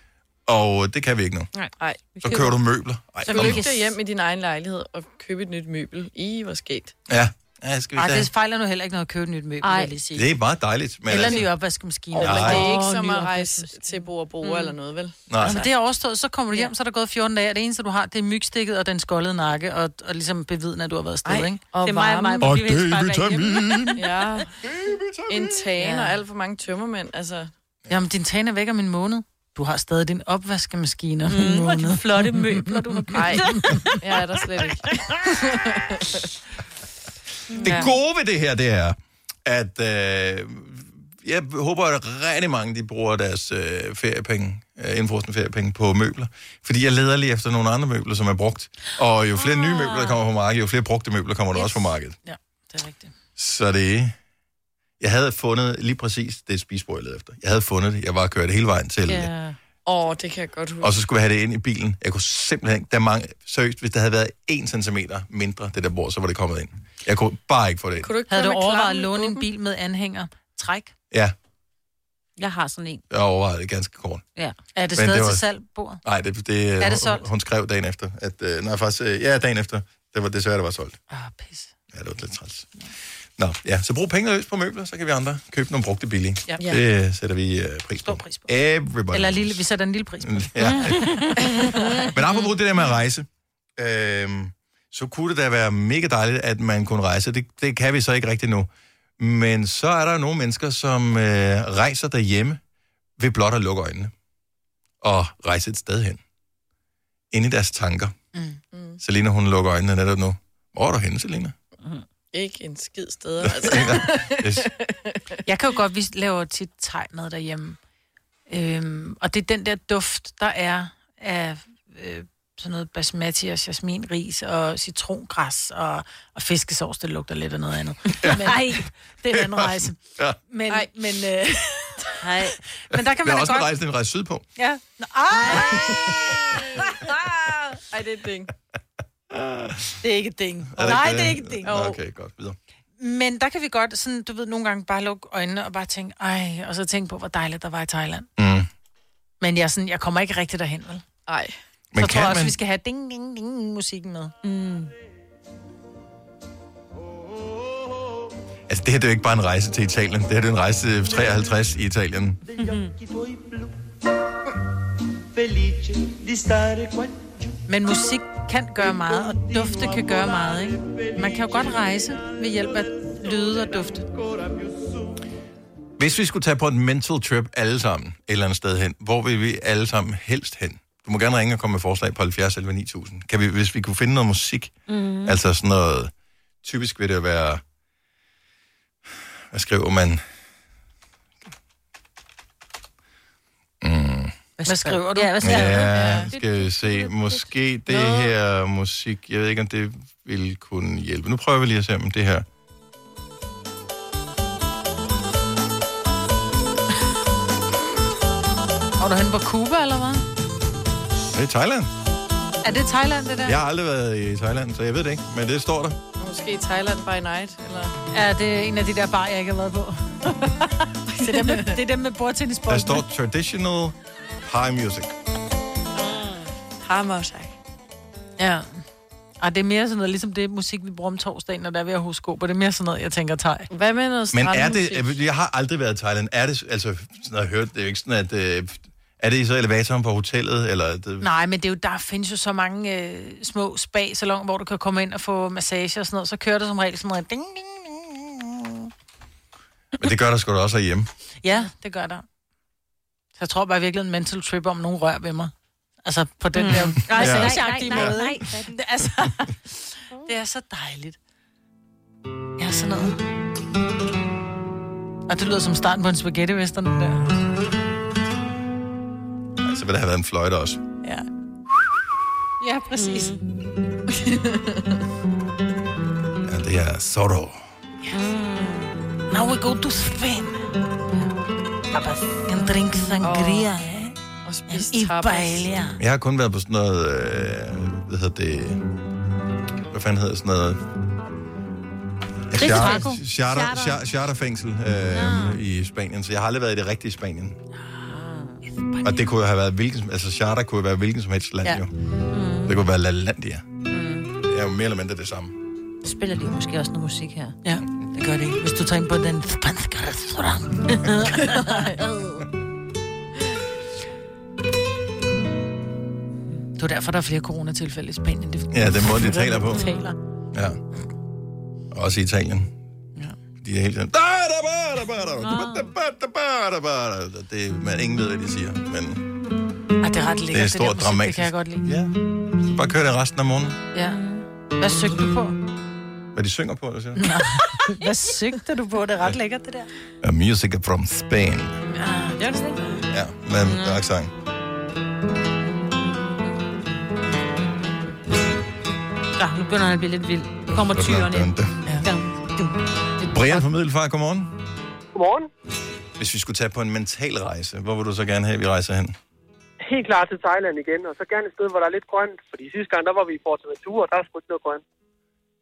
[SPEAKER 1] Og øh, det kan vi ikke nu.
[SPEAKER 4] Nej. Ej, vi
[SPEAKER 1] Så
[SPEAKER 4] køber-
[SPEAKER 1] kører du møbler. Ej,
[SPEAKER 4] Så
[SPEAKER 1] kom nu.
[SPEAKER 4] lykke dig hjem i din egen lejlighed og købe et nyt møbel. I, hvor skægt.
[SPEAKER 1] Ja, Ja, skal vi
[SPEAKER 6] Ej,
[SPEAKER 1] da...
[SPEAKER 6] det fejler nu heller ikke noget at købe et nyt møbel, vil jeg lige sige.
[SPEAKER 1] Det er meget dejligt. Men
[SPEAKER 6] Eller en
[SPEAKER 1] altså,
[SPEAKER 6] ny opvaskemaskine.
[SPEAKER 1] Åh,
[SPEAKER 6] Eller
[SPEAKER 1] men det
[SPEAKER 4] Det
[SPEAKER 1] er
[SPEAKER 4] er
[SPEAKER 6] Åh, Mm.
[SPEAKER 4] ikke som
[SPEAKER 6] ny
[SPEAKER 4] at rejse til Bora Bora eller noget, vel?
[SPEAKER 1] Nej.
[SPEAKER 6] Altså, det er overstået, så kommer du hjem, så er der gået 14 dage, og det eneste, du har, det er mygstikket og den skoldede nakke, og, og ligesom bevidne, at du har været afsted,
[SPEAKER 4] Ej,
[SPEAKER 6] ikke?
[SPEAKER 4] og
[SPEAKER 6] det er mig, mig,
[SPEAKER 4] varmen.
[SPEAKER 6] mig,
[SPEAKER 4] Og
[SPEAKER 6] ja.
[SPEAKER 4] En tan
[SPEAKER 6] Ja.
[SPEAKER 4] og alt for mange tømmermænd, altså.
[SPEAKER 6] Jamen, din tan er væk om en måned. Du har stadig din opvaskemaskine om en
[SPEAKER 4] Mm, og de
[SPEAKER 6] måned.
[SPEAKER 4] flotte
[SPEAKER 6] møbler, du har
[SPEAKER 4] Nej, jeg er der slet ikke.
[SPEAKER 1] Det gode ved det her, det er, at øh, jeg håber, at rigtig mange de bruger deres øh, feriepenge, øh, indfrosne feriepenge på møbler. Fordi jeg leder lige efter nogle andre møbler, som er brugt. Og jo flere nye møbler, der kommer på markedet, jo flere brugte møbler kommer der også på markedet.
[SPEAKER 6] Ah. Ja, det er rigtigt.
[SPEAKER 1] Så det Jeg havde fundet lige præcis det spisbord, jeg ledte efter. Jeg havde fundet det. Jeg var kørt hele vejen til yeah.
[SPEAKER 4] Ja. Åh, det kan jeg godt huske.
[SPEAKER 1] Og så skulle vi have det ind i bilen. Jeg kunne simpelthen ikke... Der er mange, seriøst, hvis der havde været 1 cm mindre, det der bord, så var det kommet ind. Jeg kunne bare ikke få det ind.
[SPEAKER 4] du ikke
[SPEAKER 6] Havde
[SPEAKER 4] køre
[SPEAKER 6] du
[SPEAKER 4] med
[SPEAKER 6] overvejet at
[SPEAKER 4] klappen
[SPEAKER 6] låne en bil med anhænger? Træk.
[SPEAKER 1] Ja,
[SPEAKER 6] Jeg har sådan en.
[SPEAKER 1] jeg overvejede det ganske kort.
[SPEAKER 6] Ja. Er det
[SPEAKER 1] Men
[SPEAKER 6] stadig
[SPEAKER 1] det var-
[SPEAKER 6] til salg, bord?
[SPEAKER 1] Nej, det, det,
[SPEAKER 6] Er det
[SPEAKER 1] hun-
[SPEAKER 6] solgt?
[SPEAKER 1] Hun skrev dagen efter. At, øh, nej, faktisk, øh, ja, dagen efter. Det var desværre, det var solgt. Ah, pis. Ja, det var lidt træls. Nå, ja, så brug penge løs på møbler, så kan vi andre købe nogle brugte billige.
[SPEAKER 6] Ja.
[SPEAKER 1] Det øh, sætter vi øh, pris på. Stor pris på. Everybody.
[SPEAKER 6] Eller lille, vi sætter en lille pris på.
[SPEAKER 1] Ja. Men apropos det der med at rejse, øh, så kunne det da være mega dejligt, at man kunne rejse. Det, det kan vi så ikke rigtig nu. Men så er der jo nogle mennesker, som øh, rejser derhjemme ved blot at lukke øjnene og rejse et sted hen. Inde i deres tanker. Mm. Selina, hun lukker øjnene netop nu. Hvor er du henne, Selina?
[SPEAKER 4] Ikke en skid steder, altså.
[SPEAKER 1] Yes.
[SPEAKER 6] Jeg kan jo godt, vi laver tit tegmad derhjemme. Øhm, og det er den der duft, der er af øh, sådan noget basmati og jasminris og citrongræs og, og fiskesovs, det lugter lidt af noget andet. Ja. Men, ej, det er en anden rejse.
[SPEAKER 1] Ja.
[SPEAKER 6] Men, Ej. men, øh, Ej. men der kan
[SPEAKER 1] det
[SPEAKER 6] man
[SPEAKER 1] er
[SPEAKER 6] da
[SPEAKER 1] også en
[SPEAKER 6] godt...
[SPEAKER 1] rejse, den rejse sydpå.
[SPEAKER 6] Ja. Nå, ej,
[SPEAKER 4] Ej, det er et ding.
[SPEAKER 6] det er ikke et ding.
[SPEAKER 1] Er det
[SPEAKER 6] Nej, det er ikke et ding.
[SPEAKER 1] øh, Nå, Okay, godt. Videre.
[SPEAKER 6] Men der kan vi godt, sådan, du ved, nogle gange bare lukke øjnene og bare tænke, ej, og så tænke på, hvor dejligt der var i Thailand.
[SPEAKER 1] Mm.
[SPEAKER 6] Men jeg, er sådan, jeg kommer ikke rigtig derhen, vel?
[SPEAKER 4] Nej.
[SPEAKER 6] Men
[SPEAKER 1] Men
[SPEAKER 6] så tror
[SPEAKER 1] kan
[SPEAKER 6] jeg også,
[SPEAKER 1] man-
[SPEAKER 6] vi skal have ding, ding, ding musikken med. Mm.
[SPEAKER 1] Altså, det her det er jo ikke bare en rejse til Italien. Det her det er en rejse til 53 i Italien.
[SPEAKER 5] Felice di stare qua
[SPEAKER 6] Men musik kan gøre meget, og dufte kan gøre meget, ikke? Man kan jo godt rejse ved hjælp af lyde og dufte.
[SPEAKER 1] Hvis vi skulle tage på en mental trip alle sammen et eller andet sted hen, hvor vil vi alle sammen helst hen? Du må gerne ringe og komme med forslag på 70 11 9000. Kan vi, hvis vi kunne finde noget musik,
[SPEAKER 2] Mm.
[SPEAKER 1] altså sådan noget, typisk vil det jo være, hvad skriver man?
[SPEAKER 6] Hvad skriver du?
[SPEAKER 3] Ja, hvad skriver du?
[SPEAKER 1] Ja, skal vi se. Måske det her musik, jeg ved ikke, om det ville kunne hjælpe. Nu prøver vi lige at se, om det her...
[SPEAKER 6] Og er du henne på Cuba, eller hvad?
[SPEAKER 1] Er det Thailand?
[SPEAKER 6] Er det Thailand, det der?
[SPEAKER 1] Jeg har aldrig været i Thailand, så jeg ved det ikke, men det står der.
[SPEAKER 4] Måske Thailand by night, eller...
[SPEAKER 6] Ja, det er en af de der bar, jeg ikke har været på. det, er dem med, det er dem med bordtennisbolden.
[SPEAKER 1] Der står traditional high music.
[SPEAKER 4] Hammersag.
[SPEAKER 6] Ja. Ej, det er mere sådan noget, ligesom det musik, vi bruger om torsdagen, når der er ved at huske på. Det er mere sådan noget, jeg tænker tag.
[SPEAKER 4] Hvad med noget
[SPEAKER 1] Men er det, øh, jeg har aldrig været i Thailand, er det, altså, sådan har jeg hørt, det er jo ikke sådan, at, øh, er det i så elevatoren på hotellet, eller, det,
[SPEAKER 6] Nej, men det er jo, der findes jo så mange øh, små spa-salon, hvor du kan komme ind og få massage og sådan noget. Så kører der som regel sådan noget. Ding, ding.
[SPEAKER 1] men det gør der sgu da også herhjemme.
[SPEAKER 6] Ja, det gør der. Så jeg tror bare virkelig en mental trip om, nogen rør ved mig. Altså på den mm. der
[SPEAKER 1] nej, nej,
[SPEAKER 6] massageagtige
[SPEAKER 3] nej, nej,
[SPEAKER 6] måde.
[SPEAKER 3] nej.
[SPEAKER 6] ikke? Det, er altså, det er så dejligt. Ja, sådan noget. Og det lyder som starten på en spaghetti western, den der.
[SPEAKER 1] Så Altså, vil der have været en fløjte også.
[SPEAKER 6] Ja. Ja, præcis. Mm.
[SPEAKER 1] Ja, det er Zorro.
[SPEAKER 6] Now we go to Spain. Tapas. En drink sangria, oh. eh?
[SPEAKER 4] Og spise
[SPEAKER 6] I
[SPEAKER 4] tapas.
[SPEAKER 6] Baelia.
[SPEAKER 1] Jeg har kun været på sådan noget, øh, hvad hedder det, hvad fanden hedder sådan noget?
[SPEAKER 6] Krigsdrago.
[SPEAKER 1] Charter, charter, charter. charterfængsel øh, i Spanien, så jeg har aldrig været i det rigtige Spanien. Og det kunne jo have været hvilken, altså charter kunne jo være hvilken som helst land
[SPEAKER 6] Ja.
[SPEAKER 1] Mm. jo. Det kunne være LaLandia. Det er jo mere eller mindre det samme.
[SPEAKER 3] spiller de måske også noget musik her.
[SPEAKER 6] Ja, det gør det ikke. Hvis du tager ind på den spanske restaurant. det er derfor, der er flere coronatilfælde i Spanien. Det
[SPEAKER 1] Ja, den måde, de taler på.
[SPEAKER 6] Taler.
[SPEAKER 1] Ja. Også i Italien. Ja. De er helt sådan... "Da, da, ba, da, ba, da, da, ba, da, ba, da, ba, da." Det, man ingen ved, hvad de siger, men
[SPEAKER 6] Ej, det er ret lækkert.
[SPEAKER 1] det er
[SPEAKER 6] der
[SPEAKER 1] stort
[SPEAKER 6] musik, Altså, Det
[SPEAKER 1] dramatisk.
[SPEAKER 6] kan jeg godt lide.
[SPEAKER 1] Ja. Så bare kør det resten af morgenen.
[SPEAKER 6] ja. Hvad søgte du på?
[SPEAKER 1] Hvad de synger på, eller siger?
[SPEAKER 6] Hvad søgte du på? Det er ret lækkert, det der.
[SPEAKER 1] A music from
[SPEAKER 6] Ja,
[SPEAKER 1] Spain.
[SPEAKER 6] det er det.
[SPEAKER 1] Ja, med mm. accent.
[SPEAKER 3] Ja, nu begynder han at blive lidt vild. Nu kommer tyrene ind. Ja.
[SPEAKER 1] Brian fra Middelfart, godmorgen.
[SPEAKER 2] Godmorgen.
[SPEAKER 1] Hvis vi skulle tage på en mental rejse, hvor vil du så gerne have, at vi rejser hen?
[SPEAKER 2] Helt klar til Thailand igen, og så gerne et sted, hvor der er lidt grønt. Fordi sidste gang, der var vi i Fortaventura, og der er sgu ikke noget grønt.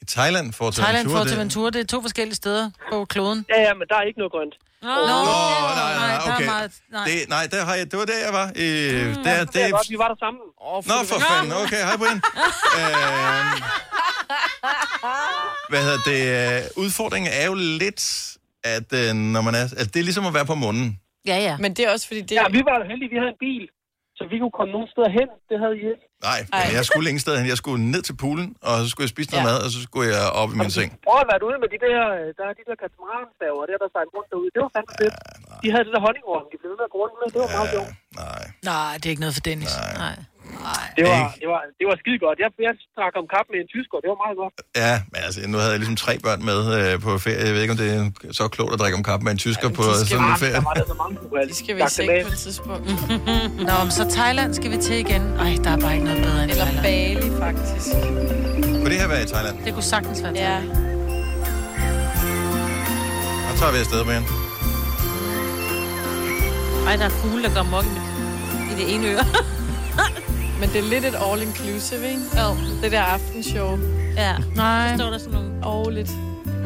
[SPEAKER 1] I Thailand, for
[SPEAKER 6] Thailand, Fortaventura, det er to forskellige steder på kloden.
[SPEAKER 2] Ja, ja, men der er ikke noget grønt.
[SPEAKER 6] Nå, Nå nej, nej,
[SPEAKER 1] okay.
[SPEAKER 6] nej.
[SPEAKER 1] Det, nej, der har jeg, det var der, jeg var. Øh, mm, der,
[SPEAKER 2] Det
[SPEAKER 1] det,
[SPEAKER 2] er godt, vi var der sammen. Oh,
[SPEAKER 1] Nå, for fanden. Okay, hej Brian. Øhm, hvad hedder det? øh, Udfordringen er jo lidt, at øh, når man er... Altså, det er ligesom at være på munden.
[SPEAKER 3] Ja, ja.
[SPEAKER 2] Men det er også fordi... Det... Ja, vi var heldige, vi havde en bil, så vi kunne komme nogen steder hen. Det havde I ikke.
[SPEAKER 1] Nej, men jeg skulle ingen sted hen. Jeg skulle ned til poolen, og så skulle jeg spise noget
[SPEAKER 2] Ja.
[SPEAKER 1] mad, og så skulle jeg op i min seng.
[SPEAKER 2] Prøv at være ude med de der, øh, der er de der katamaranstaver, der der sejler rundt derude. Det var fandme fedt. De havde det der honningorm, de blev ved med at gå rundt med. Det var meget sjovt.
[SPEAKER 6] Nej, det er ikke noget for Dennis. Nej.
[SPEAKER 2] Det var, det var, det var skide godt. Jeg, jeg drak om kap med en tysker, det var meget godt.
[SPEAKER 1] Ja, men altså, nu havde jeg ligesom tre børn med øh, på ferie. Jeg ved ikke, om det er så klogt at drikke om kaffe med en tysker på sådan en ferie.
[SPEAKER 2] Det
[SPEAKER 4] skal vi se på et tidspunkt.
[SPEAKER 6] Nå, men så Thailand skal vi til igen. Ej, der er bare ikke noget bedre end
[SPEAKER 4] Eller
[SPEAKER 6] Thailand.
[SPEAKER 4] Bali, faktisk.
[SPEAKER 1] Kunne det her være i Thailand?
[SPEAKER 6] Det kunne sagtens være
[SPEAKER 4] Ja.
[SPEAKER 1] Og så tager vi afsted med hende.
[SPEAKER 3] Ej, der er fugle, der går mok i, mit- i det ene øre.
[SPEAKER 4] Men det er lidt et all-inclusive, ikke? Jo. Det der aftenshow.
[SPEAKER 3] Ja.
[SPEAKER 6] Nej.
[SPEAKER 3] Så står der sådan nogle...
[SPEAKER 4] Årligt.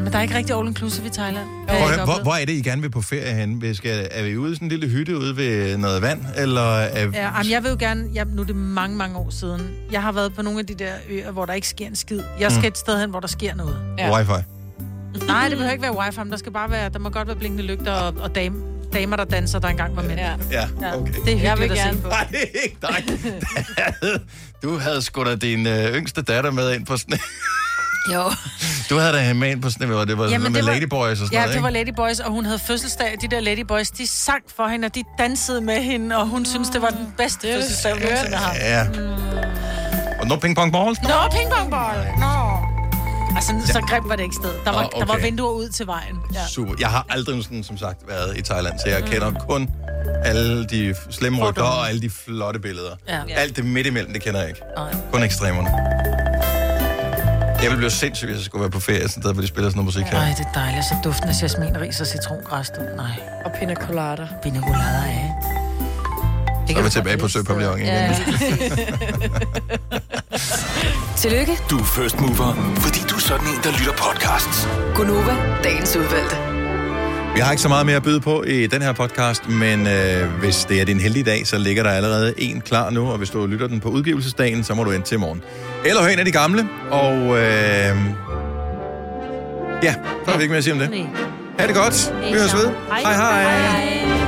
[SPEAKER 6] Men der er ikke rigtig all inclusive i Thailand.
[SPEAKER 1] Hvor, hvor, hvor er det, I gerne vil på ferie hen? Vi skal, er vi ude i sådan en lille hytte ude ved noget vand? Eller er,
[SPEAKER 6] Ja, jamen, jeg vil jo gerne... Jeg, nu er det mange, mange år siden. Jeg har været på nogle af de der øer, hvor der ikke sker en skid. Jeg skal
[SPEAKER 1] Mm.
[SPEAKER 6] et sted hen, hvor der sker noget.
[SPEAKER 1] ja. wifi?
[SPEAKER 6] Nej, det behøver ikke være wifi, men der, skal bare være, der må godt være blinkende lygter og, og dame, damer, der danser, der engang var mænd. Ja.
[SPEAKER 1] Ja, okay.
[SPEAKER 6] Det er hyggeligt
[SPEAKER 1] Jeg vil
[SPEAKER 6] at
[SPEAKER 1] gerne.
[SPEAKER 6] se på.
[SPEAKER 1] Nej, ikke dig. Du havde sgu da din øh, yngste datter med ind på sådan
[SPEAKER 6] Jo.
[SPEAKER 1] Du havde da hende med ind på sådan hvor det var Jamen, med det var, Ladyboys og sådan
[SPEAKER 6] ja,
[SPEAKER 1] noget,
[SPEAKER 6] det var
[SPEAKER 1] ikke?
[SPEAKER 6] Ladyboys, og hun havde fødselsdag, og de der Ladyboys, de sang for hende, og de dansede med hende, og hun syntes, det var den bedste fødselsdag, hun nogensinde har. haft.
[SPEAKER 1] Ja.
[SPEAKER 6] Mm.
[SPEAKER 1] Og nu ping pong balls?
[SPEAKER 6] Nå, pingpongball! Nå. Altså, så grimt var det ikke sted. Der var,
[SPEAKER 1] Nå,
[SPEAKER 6] der var
[SPEAKER 1] okay.
[SPEAKER 6] vinduer ud til vejen. Ja.
[SPEAKER 1] Super. Jeg har aldrig sådan, som sagt været i Thailand, så
[SPEAKER 6] Mm.
[SPEAKER 1] jeg kender kun alle de slemme rygter og alle de flotte billeder.
[SPEAKER 6] Ja.
[SPEAKER 1] Alt det midt imellem, det kender jeg ikke. Kun ekstremerne. Jeg ville blive sindssyg, hvis jeg skulle være på ferie, sådan der, hvor de spiller sådan noget musik her.
[SPEAKER 6] Ej, det er dejligt. Så duften af jasmin, ris og citrongræs. du. Nej.
[SPEAKER 4] Og pina colada.
[SPEAKER 6] Pina colada, ja.
[SPEAKER 1] Så er vi tilbage på Søpavillon igen.
[SPEAKER 6] Ja.
[SPEAKER 21] Tillykke,
[SPEAKER 23] Du er first mover, fordi du er sådan en, der lytter podcasts.
[SPEAKER 21] Gunova, dagens udvalgte.
[SPEAKER 1] Vi har ikke så meget mere at byde på i den her podcast, men øh, hvis det er din heldige dag, så ligger der allerede en klar nu, og hvis du lytter den på udgivelsesdagen, så må du ind til i morgen. Eller hør en af de gamle, og øh, ja, så er vi ikke mere at sige om det. Ha' det godt. Vi høres ved. Hej hej.
[SPEAKER 3] hej.